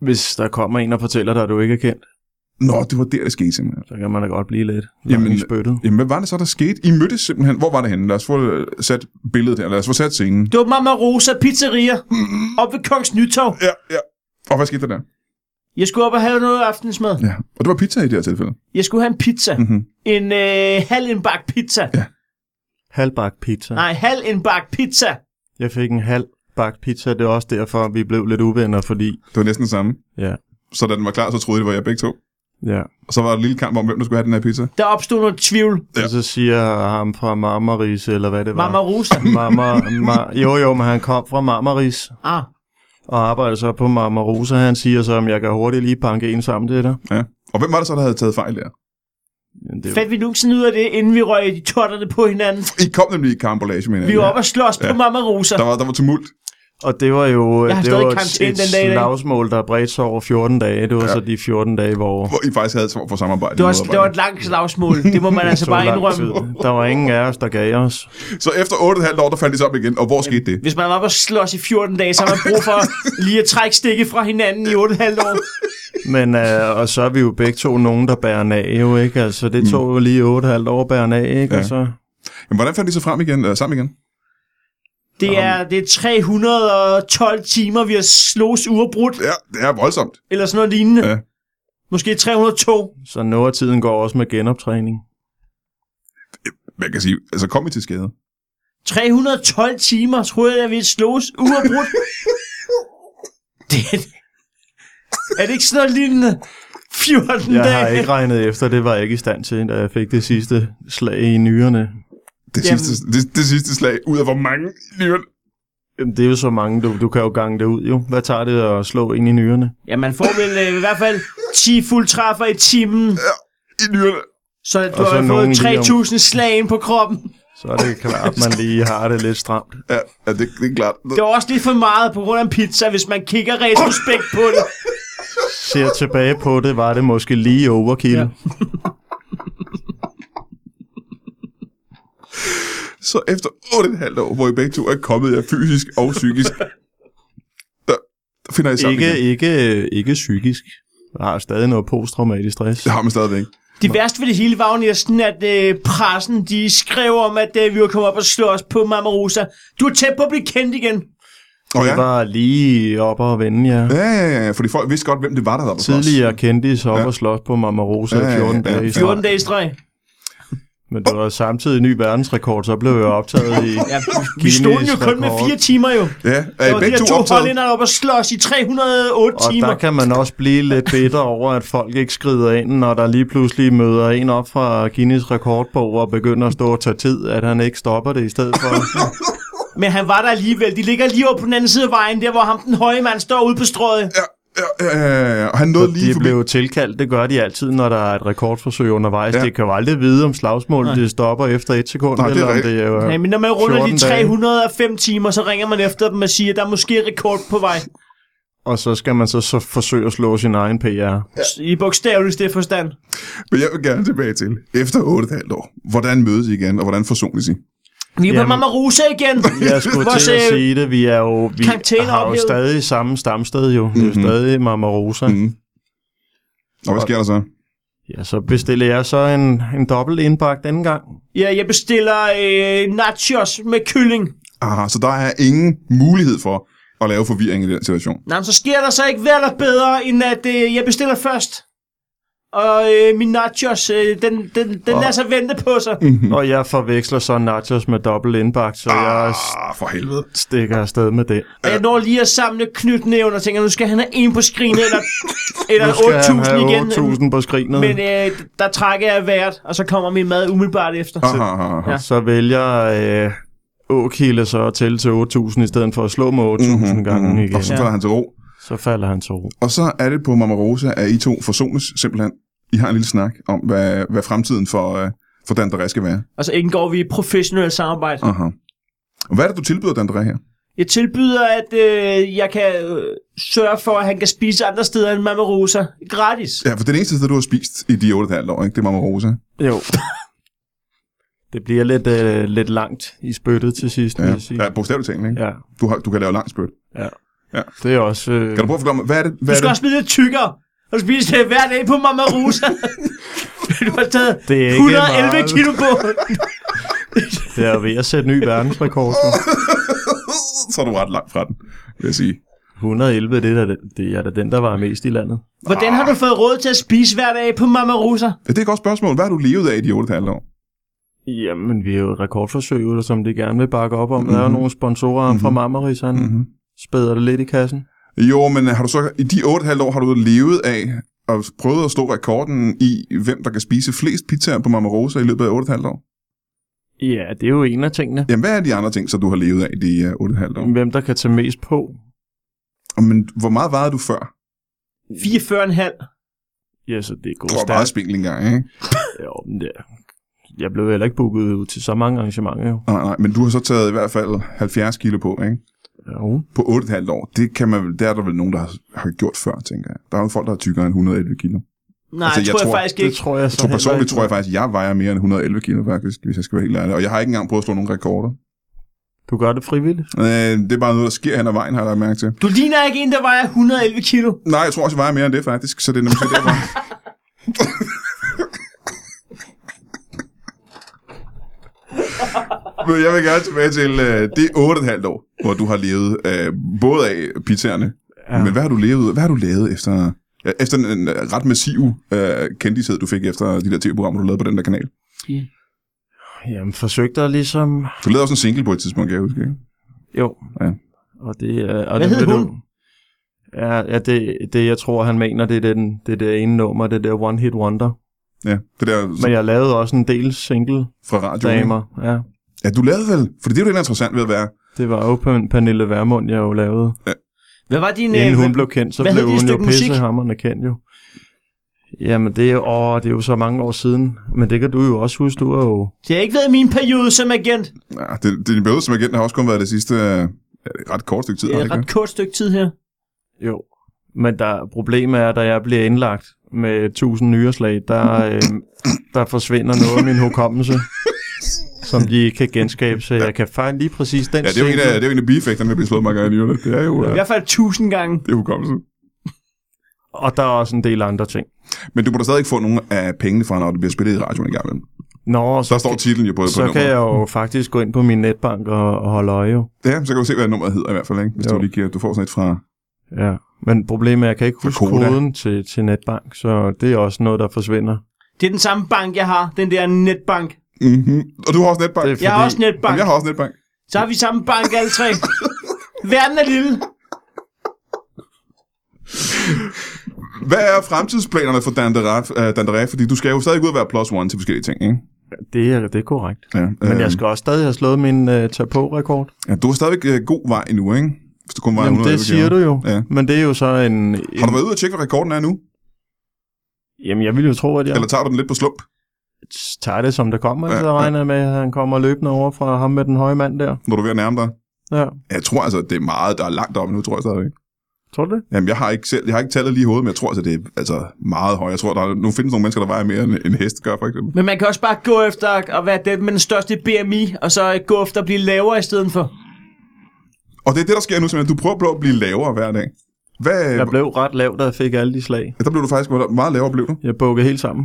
Speaker 3: Hvis der kommer en og fortæller dig, at du ikke er kendt,
Speaker 1: Nå, det var der, det skete simpelthen.
Speaker 3: så kan man da godt blive lidt
Speaker 1: Jamen,
Speaker 3: Jamen, spyttet.
Speaker 1: Jamen, hvad var det så, der skete? I mødtes simpelthen. Hvor var det henne? Lad os få øh, sat billedet her. Lad os få sat scenen.
Speaker 2: Det var Mama Rosa Pizzeria op ved Kongens Nytorv.
Speaker 1: Ja, ja. Og hvad skete der der?
Speaker 2: Jeg skulle op og have noget aftensmad.
Speaker 1: Ja. Og det var pizza i det her tilfælde.
Speaker 2: Jeg skulle have en pizza.
Speaker 1: Mhm.
Speaker 2: En øh, halv indbagt pizza.
Speaker 3: Halvbagt pizza.
Speaker 2: Nej, halv indbagt pizza.
Speaker 3: Jeg fik en halvbagt pizza, det er også derfor, vi blev lidt uvenner, fordi...
Speaker 1: Det var næsten det samme.
Speaker 3: Ja,
Speaker 1: Så da den var klar, så troede I, det var jeg begge to.
Speaker 3: ja.
Speaker 1: Og så var der en lille kamp om, hvem der skulle have den her pizza.
Speaker 2: Der opstod noget tvivl.
Speaker 1: Ja.
Speaker 3: ja. Og så siger ham fra Marmaris, eller hvad det var.
Speaker 2: Mama Rosa.
Speaker 3: Marmar, mar, jo, jo, men han kom fra Marmaris
Speaker 2: Ah,
Speaker 3: og arbejder så på Marmarosa. Han siger så, om jeg kan hurtigt lige banke en sammen til dig.
Speaker 1: Ja. Og hvem var det så, der havde taget fejl der?
Speaker 3: Men det er jo-
Speaker 2: fandt vi nuksen ud af det, inden vi røg de totterne på hinanden.
Speaker 1: I kom nemlig i karambolage med hinanden.
Speaker 2: Vi var oppe og slås på Mama Rosa.
Speaker 1: Der var, der var tumult.
Speaker 3: Og det var jo
Speaker 2: Jeg har
Speaker 3: det
Speaker 2: stadig
Speaker 3: var et,
Speaker 2: karantæne
Speaker 3: et
Speaker 2: den dag i dag.
Speaker 3: slagsmål, der bredte sig over 14 dage. Det var ja. så de 14 dage, hvor...
Speaker 1: Hvor I faktisk havde et svar for samarbejde.
Speaker 2: Det var,
Speaker 1: med
Speaker 2: det var
Speaker 1: medarbejderne.
Speaker 2: et langt slagsmål. Det må man altså
Speaker 3: tog
Speaker 2: bare
Speaker 3: lang
Speaker 2: indrømme.
Speaker 3: tid. Der var ingen af os, der gav os.
Speaker 1: Så efter 8,5 år, der fandt de sammen igen. Og hvor skete det?
Speaker 2: Hvis man var oppe og slås i 14 dage, så har man brug for lige at trække stikke fra hinanden i 8,5 år.
Speaker 3: Men, øh, og så er vi jo begge to nogen, der bærer en af, jo ikke? Altså, det tog jo lige 8,5 år at bære en af, ikke? Altså,
Speaker 1: Ja.
Speaker 3: Ja. Og så,
Speaker 1: Jamen, hvordan fandt de så frem igen, øh, sammen igen?
Speaker 2: Det er, det er 312 timer, vi har slås uafbrudt,
Speaker 1: Ja, det er voldsomt.
Speaker 2: eller sådan noget lignende.
Speaker 1: Ja.
Speaker 2: Måske 302.
Speaker 3: så noget af tiden går også med genoptræning.
Speaker 1: Man kan sige, altså kom I til skade?
Speaker 2: 312 timer, troede jeg, at vi slås uafbrudt. det er, er det ikke sådan noget lignende? 14
Speaker 3: Jeg har
Speaker 2: dage.
Speaker 3: ikke regnet efter, det var jeg ikke i stand til, da jeg fik det sidste slag i nyrerne.
Speaker 1: Det
Speaker 2: Jamen-
Speaker 1: sidste, det, det sidste slag, ud af hvor mange i nyeren?
Speaker 3: Jamen, det er jo så mange, du, du kan jo gange det ud, jo. Hvad tager det at slå ind i nyrerne?
Speaker 2: Ja, man får vel øh, i hvert fald 10 fuldtræffer i timen,
Speaker 1: I nyeren.
Speaker 2: så du
Speaker 3: Og så
Speaker 2: har
Speaker 3: nogen
Speaker 2: fået
Speaker 3: lige om-
Speaker 2: 3000 slag ind på kroppen.
Speaker 3: Så er det klart, man lige har det lidt stramt.
Speaker 1: Ja, ja det, det er klart.
Speaker 2: Det var også lidt for meget på grund af en pizza, hvis man kigger retrospekt på det.
Speaker 3: Ser tilbage på det, var det måske lige overkill.
Speaker 2: Ja.
Speaker 3: Ja.
Speaker 1: Så efter 8,5 år, hvor I begge to er kommet jer fysisk og psykisk, der, der finder I sammen
Speaker 3: Ikke,
Speaker 1: igen.
Speaker 3: ikke, ikke psykisk. Jeg har stadig noget posttraumatisk stress.
Speaker 1: Det har man stadigvæk.
Speaker 2: Det værste ved det hele var jo næsten, at øh, pressen de skrev om, at øh, vi var kommet op og slå os på Mama Rosa. Du er tæt på at blive kendt igen.
Speaker 1: Og ja,
Speaker 3: Jeg var lige oppe og vende jer. Ja.
Speaker 1: ja, ja, ja, ja, fordi folk vidste godt, hvem det var, der havde været på slås.
Speaker 3: Tidligere kendte I så op
Speaker 1: Ja.
Speaker 3: ja. og slås på Marmarosa
Speaker 1: Ja, ja, ja, ja.
Speaker 3: ja, 14 dage i streg.
Speaker 2: 14 dage i streg.
Speaker 3: Men det var samtidig ny verdensrekord, så blev jeg optaget i
Speaker 2: Ja, vi stod jo kun med 4 timer jo.
Speaker 1: Ja, er
Speaker 2: Der
Speaker 1: I
Speaker 2: var de
Speaker 1: begge
Speaker 2: her
Speaker 1: to
Speaker 2: to
Speaker 1: optaget?
Speaker 2: hollænder op og slås i 308
Speaker 3: Og
Speaker 2: timer.
Speaker 3: der kan man også blive lidt bitter over, at folk ikke skrider ind, når der lige pludselig møder en op fra Guinness rekordbog og begynder at stå og tage tid, at han ikke stopper det i stedet for.
Speaker 2: Men han var der alligevel. De ligger lige over på den anden side af vejen, der hvor ham den høje mand står ude på strøget.
Speaker 1: Ja, ja, ja, ja, ja, og han nåede lige
Speaker 3: De
Speaker 1: forbi.
Speaker 3: blev jo tilkaldt, det gør de altid, når der er et rekordforsøg undervejs.
Speaker 1: Ja.
Speaker 3: Ja. De kan jo aldrig vide, om slagsmålet det stopper efter et sekund,
Speaker 1: Nej,
Speaker 3: Nej,
Speaker 1: det er
Speaker 3: eller om
Speaker 1: rigtigt.
Speaker 3: det øh, er...
Speaker 2: Ja, men når man runder de
Speaker 3: 14 dage.
Speaker 2: 305 timer, så ringer man efter dem og siger, at der er måske rekord på vej.
Speaker 3: Og så skal man så, så forsøge at slå sin egen PR.
Speaker 2: I bogstaveligste forstand.
Speaker 1: Men jeg vil gerne tilbage til, efter 8,5 år, hvordan mødes I igen, og hvordan forsones I?
Speaker 2: Vi er på
Speaker 3: Jamen-
Speaker 2: Mama Rosa igen.
Speaker 3: Jeg skulle
Speaker 2: Vores,
Speaker 3: til at
Speaker 2: øh,
Speaker 3: sige det, vi er jo, vi
Speaker 2: karantæne
Speaker 3: har jo
Speaker 2: ophævet.
Speaker 3: stadig samme stamsted jo. Det er jo
Speaker 1: Mhm.
Speaker 3: stadig Marmarosa.
Speaker 1: Mm. Og hvad sker der så?
Speaker 3: Ja, så bestiller jeg så en, en dobbelt indbagt anden gang.
Speaker 2: Ja, jeg bestiller øh, nachos med kylling.
Speaker 1: Aha, så der er ingen mulighed for at lave forvirring i den situation.
Speaker 2: Nå, men så sker der så ikke værd bedre, end at øh, jeg bestiller først. og øh, min nachos, øh, den, den, den lader sig vente på sig.
Speaker 1: Mhm.
Speaker 3: Og jeg forveksler så nachos med dobbelt indbagt, så jeg
Speaker 1: Ah, for helvede.
Speaker 3: stikker afsted med det.
Speaker 2: Og jeg når lige at samle knytnæven og tænker, nu skal han have en på skrinet, eller, eller
Speaker 3: Nu skal han
Speaker 2: 8.000
Speaker 3: have
Speaker 2: igen.
Speaker 3: 8.000 på skrinet.
Speaker 2: Men øh, der trækker jeg vært, og så kommer min mad umiddelbart efter.
Speaker 1: Aha, aha, aha.
Speaker 2: Ja.
Speaker 3: så vælger øh, Åkilde så at tælle til 8.000 i stedet for at slå med 8.000
Speaker 1: Mhm,
Speaker 3: mm-hmm, gange mm-hmm. igen.
Speaker 1: Og så falder han til ro.
Speaker 3: Så falder han til ro.
Speaker 1: Og så er det på Mama Rosa, at I to forsones simpelthen. I har en lille snak om, hvad, hvad fremtiden for, øh, for Dandere skal være.
Speaker 2: Og så indgår vi i professionelt samarbejde.
Speaker 1: Aha. Og hvad er det, du tilbyder Dandere her?
Speaker 2: Jeg tilbyder, at øh, jeg kan øh, sørge for, at han kan spise andre steder end Mama Rosa. Gratis.
Speaker 1: Ja, for det er det eneste sted, du har spist i de 8,5 år, ikke? Det er Mama Rosa.
Speaker 3: Jo. det bliver lidt, øh, lidt langt i spyttet til sidst, ja. vil jeg sige.
Speaker 1: Ja, ja bogstaveligt talt, ikke? Ja.
Speaker 3: Ja,
Speaker 1: Du, har, du kan lave langt spyt.
Speaker 3: ja.
Speaker 1: Ja.
Speaker 3: Det er også... Øh,
Speaker 1: Kan du prøve at forklare mig, hvad er det? Hvad
Speaker 2: Du
Speaker 1: er
Speaker 2: skal
Speaker 1: det?
Speaker 2: også blive lidt tykkere. Og spise det hver dag på Mama Rosa. du har taget
Speaker 3: Det er ikke
Speaker 2: 111
Speaker 3: meget.
Speaker 2: kilo på.
Speaker 3: det er ved at sætte ny verdensrekord. nu.
Speaker 1: så er du ret langt fra den, vil jeg sige.
Speaker 3: 111, det er, da, det er da den, der var mest i landet.
Speaker 2: Hvordan har du fået råd til at spise hver dag på Mama Rosa?
Speaker 1: Ja, det er et godt spørgsmål. Hvad har du levet af i de 8,5 år?
Speaker 3: Jamen, vi er jo et rekordforsøg, eller som de gerne vil bakke op om. Mm-hmm. Der er jo nogle sponsorer mm-hmm. fra Marmaris, han
Speaker 1: Mhm.
Speaker 3: mm-hmm. spæder det lidt i kassen.
Speaker 1: Jo, men har du så, i de 8,5 år har du levet af og prøvet at slå rekorden i, hvem der kan spise flest pizzaer på Mama Rosa i løbet af 8,5 år?
Speaker 3: Ja, det er jo en af tingene.
Speaker 1: Jamen, hvad er de andre ting, så du har levet af i de øh, 8,5 år?
Speaker 3: Hvem der kan tage mest på.
Speaker 1: Og Men hvor meget vejede du før?
Speaker 2: 44,5.
Speaker 3: Ja, så det
Speaker 1: Du
Speaker 3: er gået
Speaker 1: var meget
Speaker 3: stærkt.
Speaker 1: spinkel engang, ikke?
Speaker 3: Jo, men det, jeg blev heller ikke booket ud til så mange arrangementer, jo.
Speaker 1: Nej, nej, men du har så taget i hvert fald 70 kilo på, ikke?
Speaker 3: jo.
Speaker 1: På 8,5 år. Det kan man, vel- der er der vel nogen, der har, har gjort før, tænker jeg. Der er jo folk, der er tykkere end 111 kilo.
Speaker 2: Nej,
Speaker 1: Altså,
Speaker 2: altså,
Speaker 1: jeg
Speaker 2: jeg tror jeg
Speaker 1: tror,
Speaker 2: faktisk
Speaker 3: Det
Speaker 2: ikke.
Speaker 3: tror jeg så
Speaker 1: Jeg tror
Speaker 3: heller
Speaker 1: personligt,
Speaker 3: ikke.
Speaker 1: tror jeg faktisk, jeg vejer mere end 111 kilo, faktisk, hvis jeg skal være helt ærlig. Og jeg har ikke engang prøvet at slå nogen rekorder.
Speaker 3: Du gør det frivilligt.
Speaker 1: Øh, det er bare noget, der sker hen ad vejen, har jeg lagt mærke til.
Speaker 2: Du ligner ikke en, der vejer 111 kilo.
Speaker 1: Nej, jeg tror også, jeg vejer mere end det, faktisk. Så det er nemlig så derfor. Men jeg vil gerne tilbage til øh, det 8,5 år, hvor du har levet øh, både af pizzaerne. Ja. Men hvad har du levet? Hvad har du lavet efter, ja, efter en øh, ret massiv øh, kendtished, du fik efter de der tv-programmer, du lavede på den der kanal?
Speaker 3: Jamen, forsøgte jeg ligesom...
Speaker 1: Du lavede også en single på et tidspunkt, kan jeg huske. Ikke?
Speaker 3: Jo.
Speaker 1: Ja.
Speaker 3: Og det, øh, og
Speaker 2: Hvad
Speaker 3: det
Speaker 2: hed
Speaker 3: vil
Speaker 2: hun?
Speaker 3: Du, ja, ja det, det, jeg tror, han mener, det er den, det, er det ene nummer, det der One Hit Wonder.
Speaker 1: Ja, det der
Speaker 3: Men jeg lavede også en del single-damer.
Speaker 1: fra radioen. ikke?
Speaker 3: Ja.
Speaker 1: Ja, du lavede vel? For det er jo det, der er interessant ved at være.
Speaker 3: Det var jo Pen- Pernille Vermund, jeg jo lavede.
Speaker 2: Hvad var din...
Speaker 3: Inden
Speaker 2: øh,
Speaker 3: hun blev kendt, så
Speaker 2: hvad
Speaker 3: blev
Speaker 2: hed det
Speaker 3: hun jo
Speaker 2: stykke musik?
Speaker 3: pissehammerne kendt jo. Jamen, det er, jo- åh, det er jo så mange år siden. Men det kan du jo også huske, du er jo...
Speaker 2: Det har ikke været min periode som agent.
Speaker 1: Ja, det, det, din periode som agent har også kun været det sidste øh, ja, det er ret kort stykke tid.
Speaker 2: Det
Speaker 1: har
Speaker 2: er
Speaker 1: det
Speaker 2: et
Speaker 1: ikke
Speaker 2: ret kort stykke tid her.
Speaker 3: Jo. Men der, problemet er, da jeg bliver indlagt med 1000 nyreslag, der, øh, der forsvinder noget af min hukommelse, som de ikke kan genskabe, så jeg kan fejle lige præcis den
Speaker 1: Ja, det er jo en af,
Speaker 3: single.
Speaker 1: det er jo en af bieffekterne, der bliver slået mange gange i livet. Det er jo
Speaker 2: I
Speaker 1: ja.
Speaker 2: hvert fald 1000 gange.
Speaker 1: det er hukommelsen.
Speaker 3: Og der er også en del andre ting.
Speaker 1: Men du må da stadig ikke få nogen af pengene fra, når det bliver spillet i radioen i gang imellem.
Speaker 3: Nå, så,
Speaker 1: Der står titlen jo på, på
Speaker 3: så kan jeg jo faktisk gå ind på min netbank og, og holde øje. jo.
Speaker 1: Ja, så kan du se, hvad nummeret hedder i hvert fald, ikke? Hvis
Speaker 3: Jo.
Speaker 1: du lige giver, du får sådan et fra...
Speaker 3: Ja. Men problemet er, at jeg kan ikke huske
Speaker 1: Koda.
Speaker 3: koden til, til netbank, så det er også noget, der forsvinder.
Speaker 2: Det er den samme bank, jeg har. Den der netbank.
Speaker 1: Mm-hmm. Og du har også netbank.
Speaker 3: Det er
Speaker 2: Jeg har også netbank.
Speaker 1: Jamen, jeg har også netbank.
Speaker 2: Så har vi samme bank alle tre. Verden er lille.
Speaker 1: Hvad er fremtidsplanerne for Dandera, uh, Dandera? Fordi du skal jo stadig ud og være plus one til forskellige ting, ikke?
Speaker 3: Det er, det er korrekt.
Speaker 1: Ja,
Speaker 3: Men
Speaker 1: øh,
Speaker 3: jeg skal også stadig have slået min øh, tag-på-rekord.
Speaker 1: ja, du har stadigvæk øh, god vej endnu, ikke? Hvis du kun vejer
Speaker 3: Jamen,
Speaker 1: 100
Speaker 3: det siger du jo.
Speaker 1: Ja.
Speaker 3: Ja. Men det er jo så en... en
Speaker 1: Har du været ude og tjekke, hvad rekorden er nu?
Speaker 3: Jamen, jeg ville jo tro, at jeg
Speaker 1: Eller tager du den lidt på slump?
Speaker 3: tager det, som det kommer.
Speaker 1: Ja,
Speaker 3: Ja, så
Speaker 1: ja.
Speaker 3: regner jeg med, at han kommer løbende over fra ham med den høje mand der.
Speaker 1: når du er ved at nærme dig?
Speaker 3: Ja.
Speaker 1: Jeg tror altså, det er meget, der er langt op nu, tror jeg stadigvæk.
Speaker 3: Tror du det?
Speaker 1: Jamen, jeg har ikke, selv, jeg har ikke tallet lige i hovedet, men jeg tror altså, det er altså, meget højt. Jeg tror, der er, nu findes nogle mennesker, der vejer mere end en hest gør, for eksempel.
Speaker 2: Men man kan også bare gå efter at være den med den største BMI, og så gå efter at blive lavere i stedet for.
Speaker 1: Og det er det, der sker nu, simpelthen. Du prøver på at blive lavere hver dag. Hvad,
Speaker 3: Jeg blev ret lav, da jeg fik alle de slag.
Speaker 1: Der blev du faktisk hvor meget lavere, blev du.
Speaker 3: Jeg bukkede helt sammen.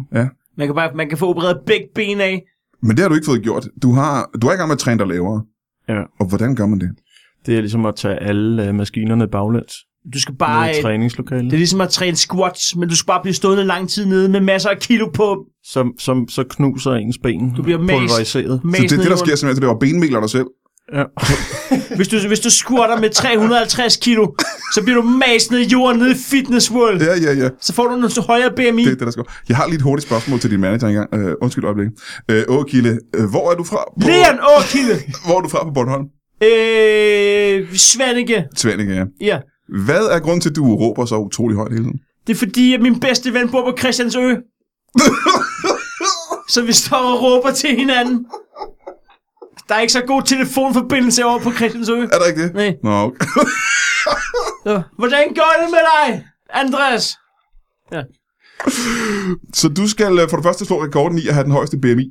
Speaker 2: Man kan, bare, man kan få opereret begge ben af.
Speaker 1: Men det har du ikke fået gjort. Du har, du er i gang med at træne dig lavere.
Speaker 3: Ja.
Speaker 1: Og hvordan gør man det?
Speaker 3: Det er ligesom at tage alle øh, maskinerne baglæns.
Speaker 2: Du skal bare...
Speaker 3: Nede i
Speaker 2: øh,
Speaker 3: træningslokalet.
Speaker 2: Det er ligesom at træne squats, men du skal bare blive stående lang tid nede med masser af kilo på.
Speaker 3: som, som så knuser ens ben.
Speaker 2: Du bliver mast.
Speaker 3: pulveriseret.
Speaker 1: Så det, det, der sker simpelthen, det var benmæler dig selv.
Speaker 3: Ja.
Speaker 2: Hvis du, hvis du squatter med 350 kilo, så bliver du mast ned i jorden nede i Fitness World.
Speaker 1: Ja, ja, ja.
Speaker 2: Så får du noget højere BMI.
Speaker 1: Det er det, der skal. Jeg har lige et hurtigt spørgsmål til din manager engang. Øh, undskyld øjeblik. Øh, Åkilde, øh, hvor er du fra? På,
Speaker 2: Leon Åkilde.
Speaker 1: hvor er du fra på Bornholm?
Speaker 2: Øh, Svanike.
Speaker 1: Tvendinge, ja.
Speaker 2: Ja.
Speaker 1: Hvad er grunden til, at du råber så utrolig højt hele tiden?
Speaker 2: Det er fordi, at min bedste ven bor på Christiansø. så vi står og råber til hinanden. Der er ikke så god telefonforbindelse over på Christiansø.
Speaker 1: Er der ikke det?
Speaker 2: Nej.
Speaker 1: Nå, okay.
Speaker 2: Så, Hvordan går det med dig, Andreas?
Speaker 1: Så du skal øh, for det første slå rekorden i at have den højeste BMI.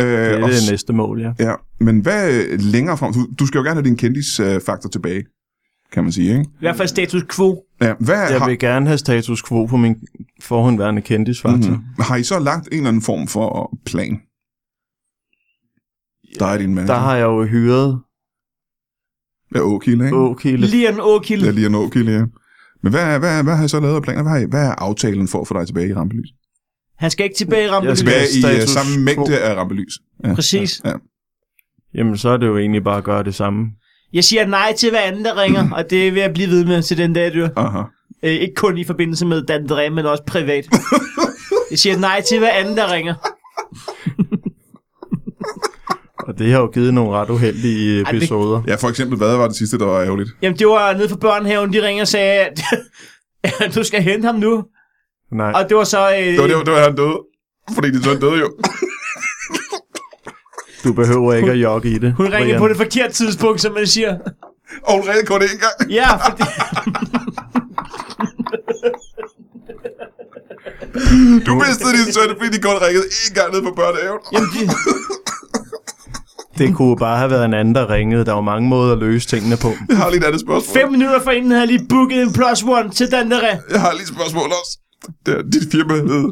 Speaker 1: Øh,
Speaker 3: Det
Speaker 1: og
Speaker 3: er
Speaker 1: s-
Speaker 3: det næste mål, ja.
Speaker 1: Ja, men hvad øh, længere frem? Du, du skal jo gerne have din kendisfaktor tilbage, kan man sige, ikke?
Speaker 2: I hvert fald status quo.
Speaker 1: Ja, hvad
Speaker 3: Jeg
Speaker 1: har,
Speaker 3: vil gerne have status quo på min forhåndværende kendisfaktor. Mm-hmm.
Speaker 1: mm, har I så lagt en eller anden form for plan? Der er din mand.
Speaker 3: Der har jeg jo hyret
Speaker 1: Ja, Åkilde, ikke?
Speaker 3: Åkilde.
Speaker 2: Leon
Speaker 1: Det er
Speaker 2: Åkilde.
Speaker 1: lige en Åkilde, ja. Men hvad, hvad, hvad har I så lavet af planer? Hvad, har I, hvad er aftalen for at få dig tilbage i rampelys?
Speaker 2: Han skal ikke tilbage i
Speaker 3: Jeg
Speaker 2: rampelyset.
Speaker 3: skal-
Speaker 1: Tilbage i uh,
Speaker 3: status
Speaker 1: samme
Speaker 3: quo.
Speaker 1: mængde af rampelys. Ja.
Speaker 2: Præcis.
Speaker 1: Ja.
Speaker 3: Jamen, så er det jo egentlig bare at gøre det samme.
Speaker 2: Jeg siger nej til hver anden, der ringer, og det vil jeg blive ved med til den dag, jeg dør.
Speaker 1: Aha.
Speaker 2: Øh, ikke kun i forbindelse med Dan Dre, men også privat. Jeg siger nej til hver anden, der ringer.
Speaker 3: Og det har jo givet nogle ret uheldige
Speaker 2: det-
Speaker 3: episoder.
Speaker 1: Ja, for eksempel, hvad var det sidste, der var ærgerligt?
Speaker 2: Jamen, det var nede for børnehaven, de ringer og sagde, at at du skal hente ham nu.
Speaker 3: Nej,
Speaker 2: Og det var så... Øh,
Speaker 1: Det var, det var, det var han døde. Fordi din søn døde jo.
Speaker 3: du behøver ikke at jogge i det.
Speaker 2: Hun ringede
Speaker 3: Brian.
Speaker 2: på det forkerte tidspunkt, som man siger.
Speaker 1: Og hun redde kun én gang.
Speaker 2: Ja, fordi...
Speaker 1: Du mistede din søn, fordi de kun ringede én gang ned på børnehaven.
Speaker 2: Jamen, de,
Speaker 3: Det kunne bare have været en anden, der ringede. Der var mange måder at løse tingene på.
Speaker 1: Jeg har lige et andet spørgsmål.
Speaker 2: fem minutter forinden havde jeg lige booket en plus one til Dan Dre.
Speaker 1: Jeg har lige et spørgsmål også. Det er, dit firma hed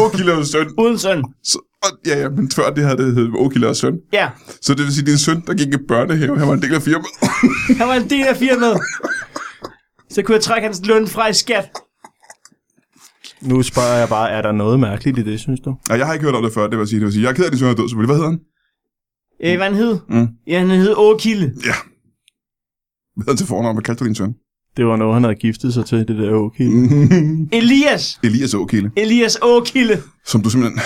Speaker 1: Åkilde og Søn.
Speaker 2: Uden søn.
Speaker 1: Så, og, ja, ja, men før det havde det hed Åkilde og Søn.
Speaker 2: Ja,
Speaker 1: Så det vil sige, at din søn, der gik i børnehave, han var en del af firmaet.
Speaker 2: han var en del af firmaet. Så kunne jeg trække hans løn fra i skat.
Speaker 3: Nu spørger jeg bare, er der noget mærkeligt i det, synes du?
Speaker 1: Og jeg har ikke hørt om det før, det vil sige. Det vil sige, jeg er ked af, at din søn er død, selvfølgelig. Hvad hedder han?
Speaker 2: Øh, hvad han hed?
Speaker 1: Mm.
Speaker 2: Ja, han hed Åkilde.
Speaker 1: Ja. Hvad hedder han til fornavn? Hvad kaldte du din søn?
Speaker 3: Det var noget, han havde giftet sig til, det der okay.
Speaker 1: Mm.
Speaker 2: Elias.
Speaker 1: Elias Åkilde,
Speaker 2: Elias Åkilde.
Speaker 1: som du simpelthen...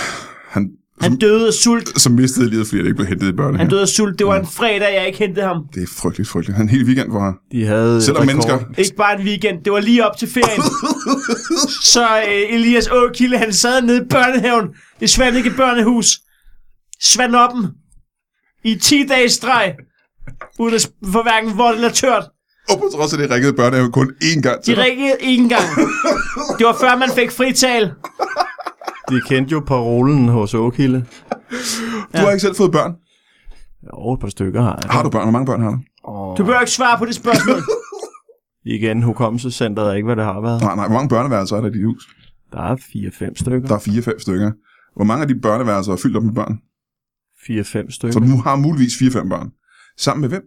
Speaker 1: Han,
Speaker 2: Han
Speaker 1: Mm.
Speaker 2: døde af sult.
Speaker 1: som mistede livet, fordi han ikke blev hentet i børnehave.
Speaker 2: Han døde af sult. Det var en fredag, jeg ikke hentede ham.
Speaker 1: Det er frygteligt, frygteligt. Han hele weekend var her.
Speaker 3: De havde
Speaker 1: Selvom
Speaker 3: rekord.
Speaker 1: mennesker...
Speaker 2: Ikke bare en weekend, det var lige op til ferien. så øh, Elias Åkilde, han sad nede i børnehaven i Svanike Børnehus. Svanoppen. I 10 dage streg. Uden at sp- få hverken vådt eller tørt.
Speaker 1: Og på trods af det ringede børnehaven kun én gang
Speaker 2: De
Speaker 1: til. dig.
Speaker 2: ringede ikke gang. Det var før, man fik frital.
Speaker 3: De kendte jo parolen hos Åkilde.
Speaker 1: Du har ikke selv fået børn.
Speaker 3: Jo, et par stykker har jeg.
Speaker 1: Har du børn? Hvor mange børn har du?
Speaker 2: Du behøver ikke svare på det spørgsmål.
Speaker 3: Igen, hukommelsescenteret er ikke, hvad det har været.
Speaker 1: Nej, nej. Hvor mange børneværelser er der i dit hus?
Speaker 3: Der er 4-5 stykker.
Speaker 1: Der er fire-fem stykker. Hvor mange af de børneværelser er fyldt op med børn?
Speaker 3: 4-5
Speaker 1: Så
Speaker 3: stykker.
Speaker 1: du har muligvis fire-fem børn. Sammen med hvem?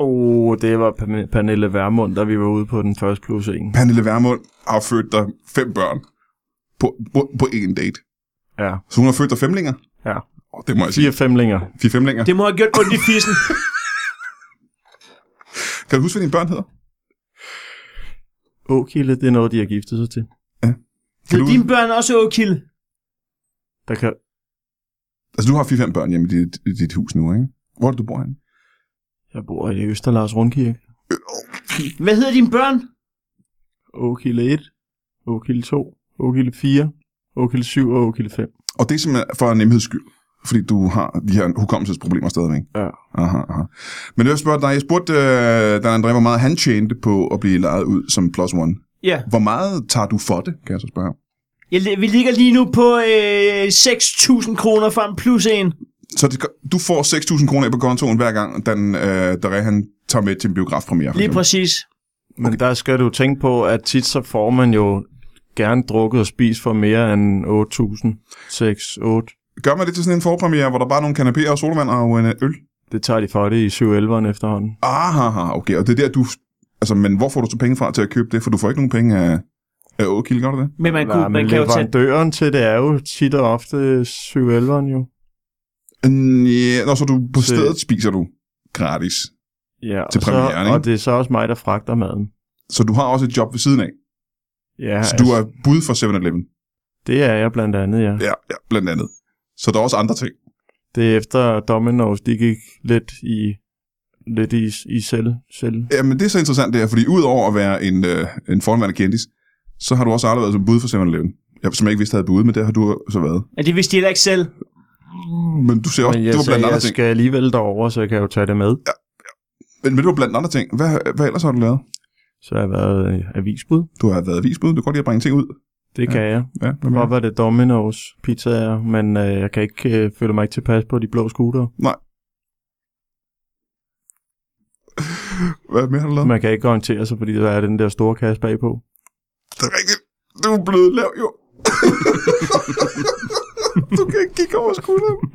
Speaker 3: Åh, oh, det var Pern- Pernille Vermund, da vi var ude på den første plus 1.
Speaker 1: Pernille Vermund har født dig fem børn på, på, på én date.
Speaker 3: Ja,
Speaker 1: Så hun har født dig femlinger?
Speaker 3: ja.
Speaker 1: Oh, det må jeg sige.
Speaker 3: 4 femlinger.
Speaker 1: Fire femlinger.
Speaker 2: Det må have gjort ondt i fissen.
Speaker 1: Kan du huske, hvad dine børn hedder?
Speaker 3: Åkilde, det er noget, de har giftet sig til.
Speaker 1: Kan du,
Speaker 2: Hed dine børn også Åkilde?
Speaker 3: Der kan...
Speaker 1: altså, du har fire-fem børn hjemme i dit, i dit hus nu, ikke? Hvor er det, du bor henne?
Speaker 3: Jeg bor i Østerlars Rundkirke.
Speaker 2: Hvad hedder dine børn?
Speaker 3: Åkilde 1, Åkilde 2, Åkilde 4, Åkilde 7 og Åkilde 5.
Speaker 1: Og det er simpelthen for nemheds skyld, fordi du har de her hukommelsesproblemer stadigvæk.
Speaker 3: Ja.
Speaker 1: Aha, aha. Men jeg spørger dig, jeg spurgte øh, Dan André, hvor meget han tjente på at blive lejet ud som plus one.
Speaker 2: Ja.
Speaker 1: Hvor meget tager du for det, kan jeg så spørge?
Speaker 2: Jeg, li- vi ligger lige nu på øh, 6.000 kroner for en plus en.
Speaker 1: Så det, gør- du får 6.000 kroner af på kontoen hver gang, Dan øh, André, han tager med til en biografpremiere. for
Speaker 2: Lige
Speaker 1: eksempel.
Speaker 2: præcis.
Speaker 3: Men der skal du tænke på, at tit så får man jo gerne drukket og spist for mere end 8.000, 6, 8.
Speaker 1: Gør man det til sådan en forpremiere, hvor der bare er nogle kanapéer og solvand og en øh, øl?
Speaker 3: Det tager de for det i 7-11'eren efterhånden.
Speaker 1: Aha, okay. Og det er der, du... Altså, men hvor får du så penge fra til at købe det? For du får ikke nogen penge af, af Åkilde, gør du det?
Speaker 2: Men man, kunne,
Speaker 3: Nej, men
Speaker 2: man kan jo tage...
Speaker 3: leverandøren til det er jo tit og ofte 7-11'eren jo. Øh,
Speaker 1: Mm, Ja, når så du på
Speaker 3: Til-
Speaker 1: stedet spiser du gratis.
Speaker 3: Ja, og
Speaker 1: Til premieren,
Speaker 3: så,
Speaker 1: ikke?
Speaker 3: Og det er så også mig, der fragter maden.
Speaker 1: Så du har også et job ved siden af.
Speaker 3: Ja, altså-
Speaker 1: så du er bud for 7-Eleven.
Speaker 3: det er jeg blandt andet, ja.
Speaker 1: Ja, ja, blandt andet. Så der er også andre ting.
Speaker 3: Det er efter Domino's, de gik lidt i, lidt i, i selv, selv.
Speaker 1: Jamen, det er så interessant det her, fordi udover at være en, øh, en forhåndværende kendis, så har du også aldrig været som bud for 7-Eleven. Jeg, som jeg ikke vidste, havde bud, men det har du så været.
Speaker 2: Ja, det vidste de heller ikke selv.
Speaker 1: Men du ser også,
Speaker 3: Men jeg
Speaker 1: det var blandt
Speaker 3: sagde,
Speaker 1: andre
Speaker 3: jeg
Speaker 1: ting.
Speaker 3: skal alligevel derover, så jeg kan jo tage det med.
Speaker 1: Men, men det var blandt andre ting. Hvad, hvad ellers har du lavet?
Speaker 3: Så har jeg været øh, avisbud.
Speaker 1: Du har været avisbud, du kan godt lide at bringe ting ud.
Speaker 3: Det ja. kan jeg.
Speaker 1: Ja, hvad
Speaker 3: Hvor
Speaker 1: mere?
Speaker 3: var det Domino's pizzaer, men øh, jeg kan ikke øh, føle mig ikke tilpas på de blå scooter.
Speaker 1: Hvad mere har du lavet?
Speaker 3: Man kan ikke orientere sig, fordi der er den der store kasse bagpå.
Speaker 1: Det er rigtigt. Du er blevet lav, jo. du kan ikke kigge over skulderen.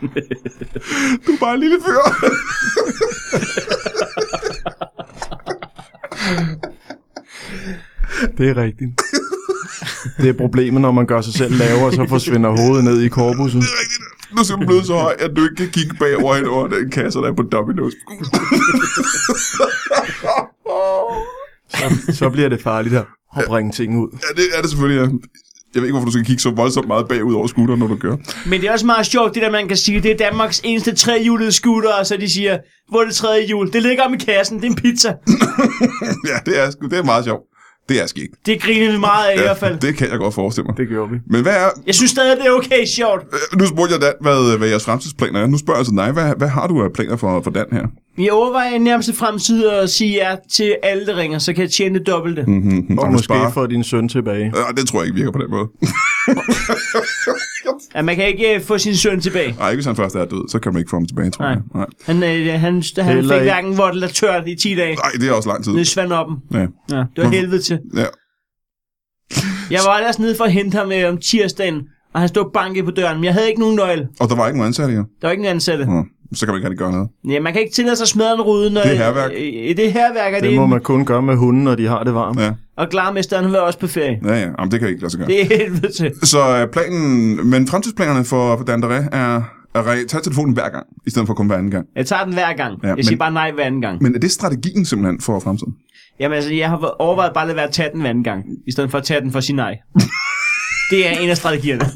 Speaker 1: du er bare en lille fyr.
Speaker 3: Det er rigtigt. det er problemet, når man gør sig selv lavere, så forsvinder hovedet ned i korpuset.
Speaker 1: Det er rigtigt. Du er simpelthen blevet så høj, at du ikke kan kigge bagover hen over den kasse, der er på Domino's.
Speaker 3: Så, så bliver det farligt at at bringe ting ud.
Speaker 1: ja, det er det selvfølgelig. Ja. Jeg ved ikke, hvorfor du skal kigge så voldsomt meget bagud over skulderen, når du kører.
Speaker 2: Men det er også meget sjovt, det der man kan sige, det er Danmarks eneste trehjulede scooter, og så de siger, hvor er det tredje hjul? Det ligger om i kassen, det er en pizza.
Speaker 1: ja, det er, sgu- det er meget sjovt. Det er skægt.
Speaker 2: Det griner vi meget af ja, i hvert fald. Det...
Speaker 1: det kan jeg godt forestille mig.
Speaker 3: Det gjorde vi.
Speaker 1: Men hvad er,
Speaker 2: Jeg synes stadig, det er okay sjovt.
Speaker 1: Øh, Nu spurgte jeg Dan, hvad, hvad jeres fremtidsplaner er. Nu spørger jeg så dig, hvad, hvad har du af planer for, for Dan her?
Speaker 2: Jeg overvejer i nærmeste fremtid at sige ja til alle, der ringer, så kan jeg tjene det dobbelte. Mm.
Speaker 1: Mm-hmm.
Speaker 3: Og måske få din søn tilbage.
Speaker 1: Øh, det tror jeg ikke virker på den måde.
Speaker 2: At man kan ikke øh, få sin søn tilbage.
Speaker 1: Nej, ikke hvis han først er død, så kan man ikke få ham tilbage, tror
Speaker 2: Nej.
Speaker 1: jeg. Nej.
Speaker 2: Han, øh, han, han
Speaker 3: Heller
Speaker 2: fik
Speaker 3: ikke.
Speaker 2: hverken vort eller tørt i 10 dage.
Speaker 1: Nej, det er også lang tid.
Speaker 2: Nede i Svanoppen.
Speaker 1: Ja.
Speaker 2: Ja, Mm. det var helvede til.
Speaker 1: Ja.
Speaker 2: Jeg var ellers nede for at hente ham øh, om tirsdagen, og han stod banket på døren, men jeg havde ikke nogen nøgle.
Speaker 1: Og der var ikke nogen ansatte her.
Speaker 2: Der var ikke nogen ansatte.
Speaker 1: Nå, så kan man ikke rigtig gøre noget.
Speaker 2: Ja, man kan ikke tillade sig at smadre en rude, når...
Speaker 1: Det er hærværk.
Speaker 2: Øh, det er herværk, og, det
Speaker 3: Det må
Speaker 2: er,
Speaker 3: man kun gøre med hunden, når de har det varmt.
Speaker 1: Ja,
Speaker 2: og klarmesteren har været også på ferie.
Speaker 1: ja, ja. Jamen, det kan jeg ikke lade sig gøre.
Speaker 2: Det er helvede til.
Speaker 1: Så øh, planen, men fremtidsplanerne for, for Dan Dere er at re- tage telefonen hver gang, i stedet for kun hver anden gang.
Speaker 2: Jeg tager den hver gang.
Speaker 1: Ja,
Speaker 2: Ja, jeg siger
Speaker 1: men-
Speaker 2: bare nej hver anden gang.
Speaker 1: Men er det strategien simpelthen for fremtiden?
Speaker 2: Jamen altså, jeg har overvejet bare at lade være at tage den hver anden gang, i stedet for at tage den for at sige nej. det er en af strategierne.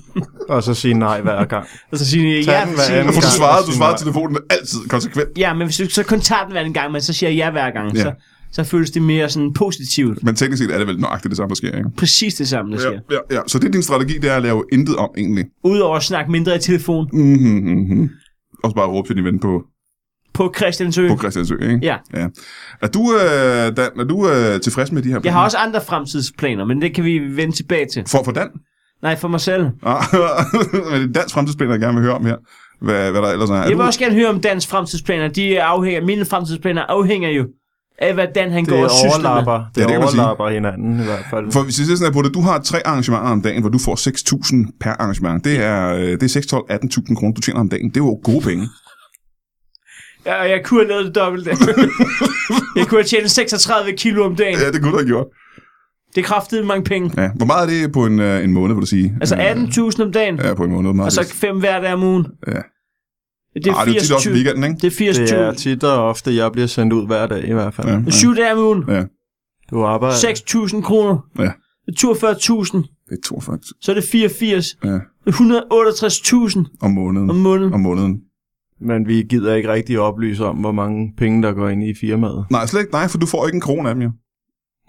Speaker 3: Og så sige nej hver gang.
Speaker 2: Og så sige ja,
Speaker 3: Tag den hver
Speaker 2: sige-
Speaker 3: anden
Speaker 1: For du
Speaker 3: gang.
Speaker 1: svarede, du
Speaker 3: Sige
Speaker 1: svarede
Speaker 3: nej.
Speaker 1: telefonen altid konsekvent.
Speaker 2: Ja, men hvis du så kun tager den hver anden gang, men så siger jeg ja hver gang,
Speaker 1: Ja.
Speaker 2: ja. så, så føles det mere sådan positivt.
Speaker 1: Men teknisk set er det vel nøjagtigt det samme, der sker, ikke?
Speaker 2: Præcis det samme, der sker.
Speaker 1: Ja, ja, ja. Så det er din strategi, det er at lave intet om egentlig.
Speaker 2: Udover at snakke mindre i telefon
Speaker 1: Mm-hmm, mm-hmm. Og så bare råbe til din ven på,
Speaker 2: på Christiansø.
Speaker 1: på Christiansø, ikke?
Speaker 2: Ja.
Speaker 1: ja. Er du, øh, Dan, er du øh, tilfreds med de her
Speaker 2: Jeg har også andre fremtidsplaner, men det kan vi vende tilbage til.
Speaker 1: For, for Dan?
Speaker 2: Nej, for mig selv.
Speaker 1: Ah, men det er dansk fremtidsplaner, jeg gerne vil høre om her. Hvad, hvad der ellers er. Er
Speaker 2: Jeg vil
Speaker 1: du-
Speaker 2: også gerne høre om Dans fremtidsplaner. De afhænger, mine fremtidsplaner afhænger jo af, hvad Dan han
Speaker 3: Det
Speaker 2: går og sysler med.
Speaker 3: overlapper, det
Speaker 1: Ja, det kan man sige.
Speaker 3: overlapper hinanden i hvert fald.
Speaker 1: For hvis vi ser sådan her på det, du har tre arrangementer om dagen, hvor du får 6.000 per arrangement. Det er, øh, det er 6, 12, 18.000 kroner, du tjener om dagen. Det er jo gode penge.
Speaker 2: Ja, og jeg kunne have lavet det dobbelte. jeg kunne have tjent 36 kilo om dagen.
Speaker 1: Ja, det kunne du have gjort.
Speaker 2: Det kræftede mange penge.
Speaker 1: Ja. Hvor meget er det på en, øh, en måned, vil du sige?
Speaker 2: Altså
Speaker 1: Øh,
Speaker 2: 18.000 om dagen,
Speaker 1: Ja, på en måned. Meget
Speaker 2: og så
Speaker 1: lidt.
Speaker 2: 5 hver dag om ugen.
Speaker 1: Ja.
Speaker 2: Det er
Speaker 1: Ej, det er jo tit også
Speaker 2: 80.000.
Speaker 1: weekenden, ikke?
Speaker 2: Det er 80.000.
Speaker 3: Det er tit og ofte, jeg bliver sendt ud hver dag i hvert fald.
Speaker 1: Ja.
Speaker 2: Det er 7 dage om ugen.
Speaker 1: Ja.
Speaker 3: Du arbejder...
Speaker 2: 6.000 kroner.
Speaker 1: Ja.
Speaker 2: Det er 42.000.
Speaker 1: Det er 42
Speaker 2: Så er det 84.
Speaker 1: Ja.
Speaker 2: Det er 168.000
Speaker 1: om måneden.
Speaker 2: om måneden.
Speaker 1: Om måneden.
Speaker 3: Men vi gider ikke rigtig oplyse om, hvor mange penge, der går ind i firmaet.
Speaker 1: Nej, slet ikke dig, for du får ikke en krone af dem jo,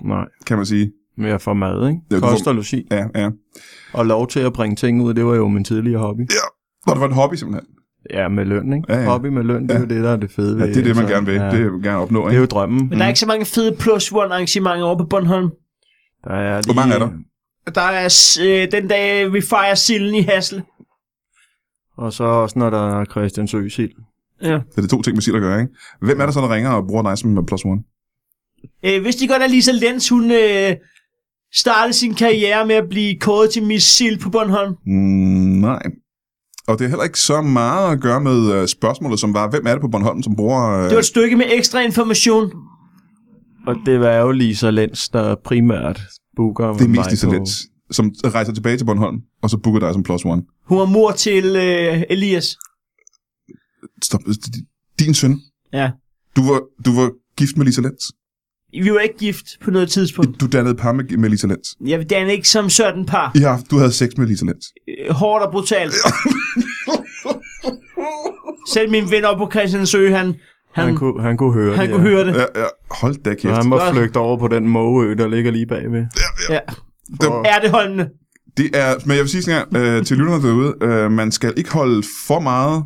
Speaker 3: Nej,
Speaker 1: kan man sige.
Speaker 3: mere for mad, ikke?
Speaker 1: Ja, du får-
Speaker 3: Koster logi.
Speaker 1: Ja, ja.
Speaker 3: Og lov til at bringe ting ud, det var jo min tidligere hobby.
Speaker 1: Nå, det var en hobby simpelthen.
Speaker 3: Ja, med løn, ikke?
Speaker 1: Ja, ja.
Speaker 3: Hobby med løn, det er jo det, der er det fede
Speaker 1: Ja,
Speaker 3: ved.
Speaker 1: det er Mm. det, man
Speaker 3: altså.
Speaker 1: gerne vil.
Speaker 3: Ja.
Speaker 1: Det vil man gerne opnå,
Speaker 3: det er
Speaker 1: ikke?
Speaker 3: jo drømmen.
Speaker 2: Men der er ikke så mange fede plus one arrangementer over på Bornholm.
Speaker 3: Der er lige...
Speaker 1: mange er der?
Speaker 2: Der er s- øh, den dag, vi fejrer silden i Hasle.
Speaker 3: Og så også, når der er Christian Søsild.
Speaker 2: Ja.
Speaker 1: Så det er to ting med sild at gøre, ikke? Hvem er der så, der ringer og bruger dig som plus one?
Speaker 2: Øh, hvis de godt er Lisa Lenz, hun øh, startede sin karriere med at blive kåret til Miss Sild på Bornholm.
Speaker 1: Mm, nej. Og det har heller ikke så meget at gøre med øh, spørgsmålet, som var, hvem er det på Bornholm, som bruger... Øh,
Speaker 2: Det var et stykke med ekstra information.
Speaker 3: Og det var jo Lisa Lenz, der primært booker
Speaker 1: det er mest
Speaker 3: mig
Speaker 1: Lisa
Speaker 3: på-
Speaker 1: Lenz, som rejser tilbage til Bornholm, og så booker dig som plus one.
Speaker 2: Hun var mor til øh, Elias.
Speaker 1: Stop. Din søn.
Speaker 2: Ja.
Speaker 1: Du var, du var gift med Lisa Lenz.
Speaker 2: Vi var ikke gift på noget tidspunkt.
Speaker 1: Du dannede par med, med Lisa Lenz.
Speaker 2: Jeg vil danne ikke som sådan par.
Speaker 1: I har, du havde sex med Lisa Lenz.
Speaker 2: Øh, Hårdt og brutalt. Selv min ven op på Christiansø, han, han,
Speaker 3: Han, kunne, han kunne høre
Speaker 2: han
Speaker 3: det.
Speaker 2: kunne høre det.
Speaker 1: Ja, ja. Hold da
Speaker 3: Ja.
Speaker 1: kæft.
Speaker 3: Han må
Speaker 2: Godt.
Speaker 3: flygte over på den mågeø, der ligger lige bagved.
Speaker 2: Ja.
Speaker 1: Det,
Speaker 2: Er det holdende?
Speaker 1: det er, men jeg vil sige sådan her, øh, til lytterne derude, øh, man skal ikke holde for meget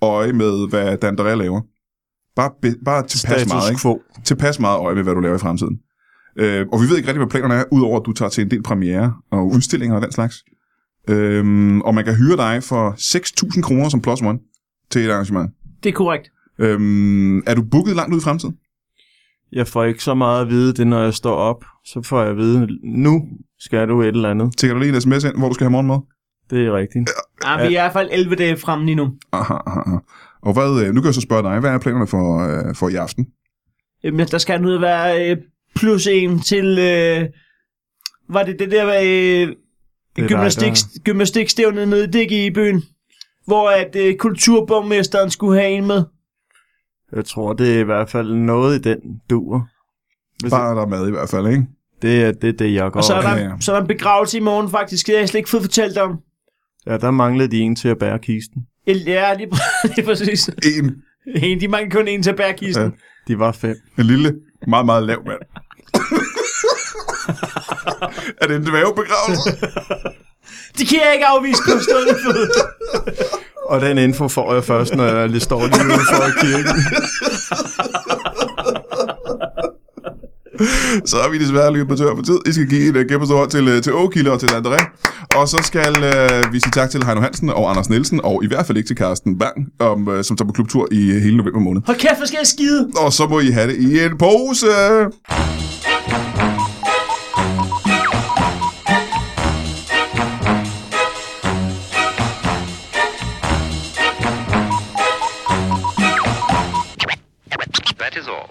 Speaker 1: øje med, hvad Dan Drea laver. Bare, be, bare tilpas meget, ikke?
Speaker 3: quo.
Speaker 1: tilpas meget øje med, hvad du laver i fremtiden. Øh, og vi ved ikke rigtig, hvad planerne er, udover at du tager til en del premiere og udstillinger og den slags. Øh, og man kan hyre dig for 6.000 kroner som plus one til et arrangement.
Speaker 2: Det er korrekt.
Speaker 1: Øh, er du booket langt ud i fremtiden?
Speaker 3: Jeg får ikke så meget at vide det, når jeg står op. Så får jeg at vide, nu skal du et eller andet.
Speaker 1: Tækker du lige en sms ind, hvor du skal have morgenmad?
Speaker 3: Det er rigtigt.
Speaker 2: Ah, vi er i hvert fald 11 dage fremme lige nu.
Speaker 1: Aha, aha, aha. Og hvad, øh, nu kan jeg så spørge dig, hvad er planerne for, øh, for i aften?
Speaker 2: Jamen, Øh, der skal nu være øh, plus en til... Øh, var det det der øh,
Speaker 3: dig,
Speaker 2: gymnastik, gymnastikstævnet nede i Digge i byen? Hvor at øh, kulturborgmesteren skulle have en med.
Speaker 3: Jeg tror, det er i hvert fald noget i den dur. Hvis
Speaker 1: Bare der er mad i hvert fald, ikke?
Speaker 3: Det er det, er det, jeg går.
Speaker 2: Og så er,
Speaker 1: ja,
Speaker 2: der,
Speaker 1: ja.
Speaker 2: så er der en begravelse i morgen faktisk, det har jeg slet ikke fået fortalt om.
Speaker 3: Ja, der manglede de en til at bære kisten.
Speaker 2: El- Ja, lige, præ- lige præcis.
Speaker 1: En,
Speaker 2: En, de mangler kun en til at bære kisten.
Speaker 1: Ja.
Speaker 3: De var fem.
Speaker 1: en lille, meget, meget lav mand. er det en dværgebegravelse?
Speaker 2: Det kan jeg ikke afvise på stående fod.
Speaker 3: Og den info får jeg først, når jeg lige står lige ude for kirken.
Speaker 1: så er vi desværre løbet tør for tid. I skal give en uh, kæmpe stor hånd til, uh, til Åkilde og til André. Og så skal uh, vi sige tak til Heino Hansen og Anders Nielsen, og i hvert fald ikke til Carsten Bang, om, uh, som tager på klubtur i uh, hele november måned.
Speaker 2: Hold kæft, hvor skal jeg skide?
Speaker 1: Og så må I have det i en pose!
Speaker 5: That is all.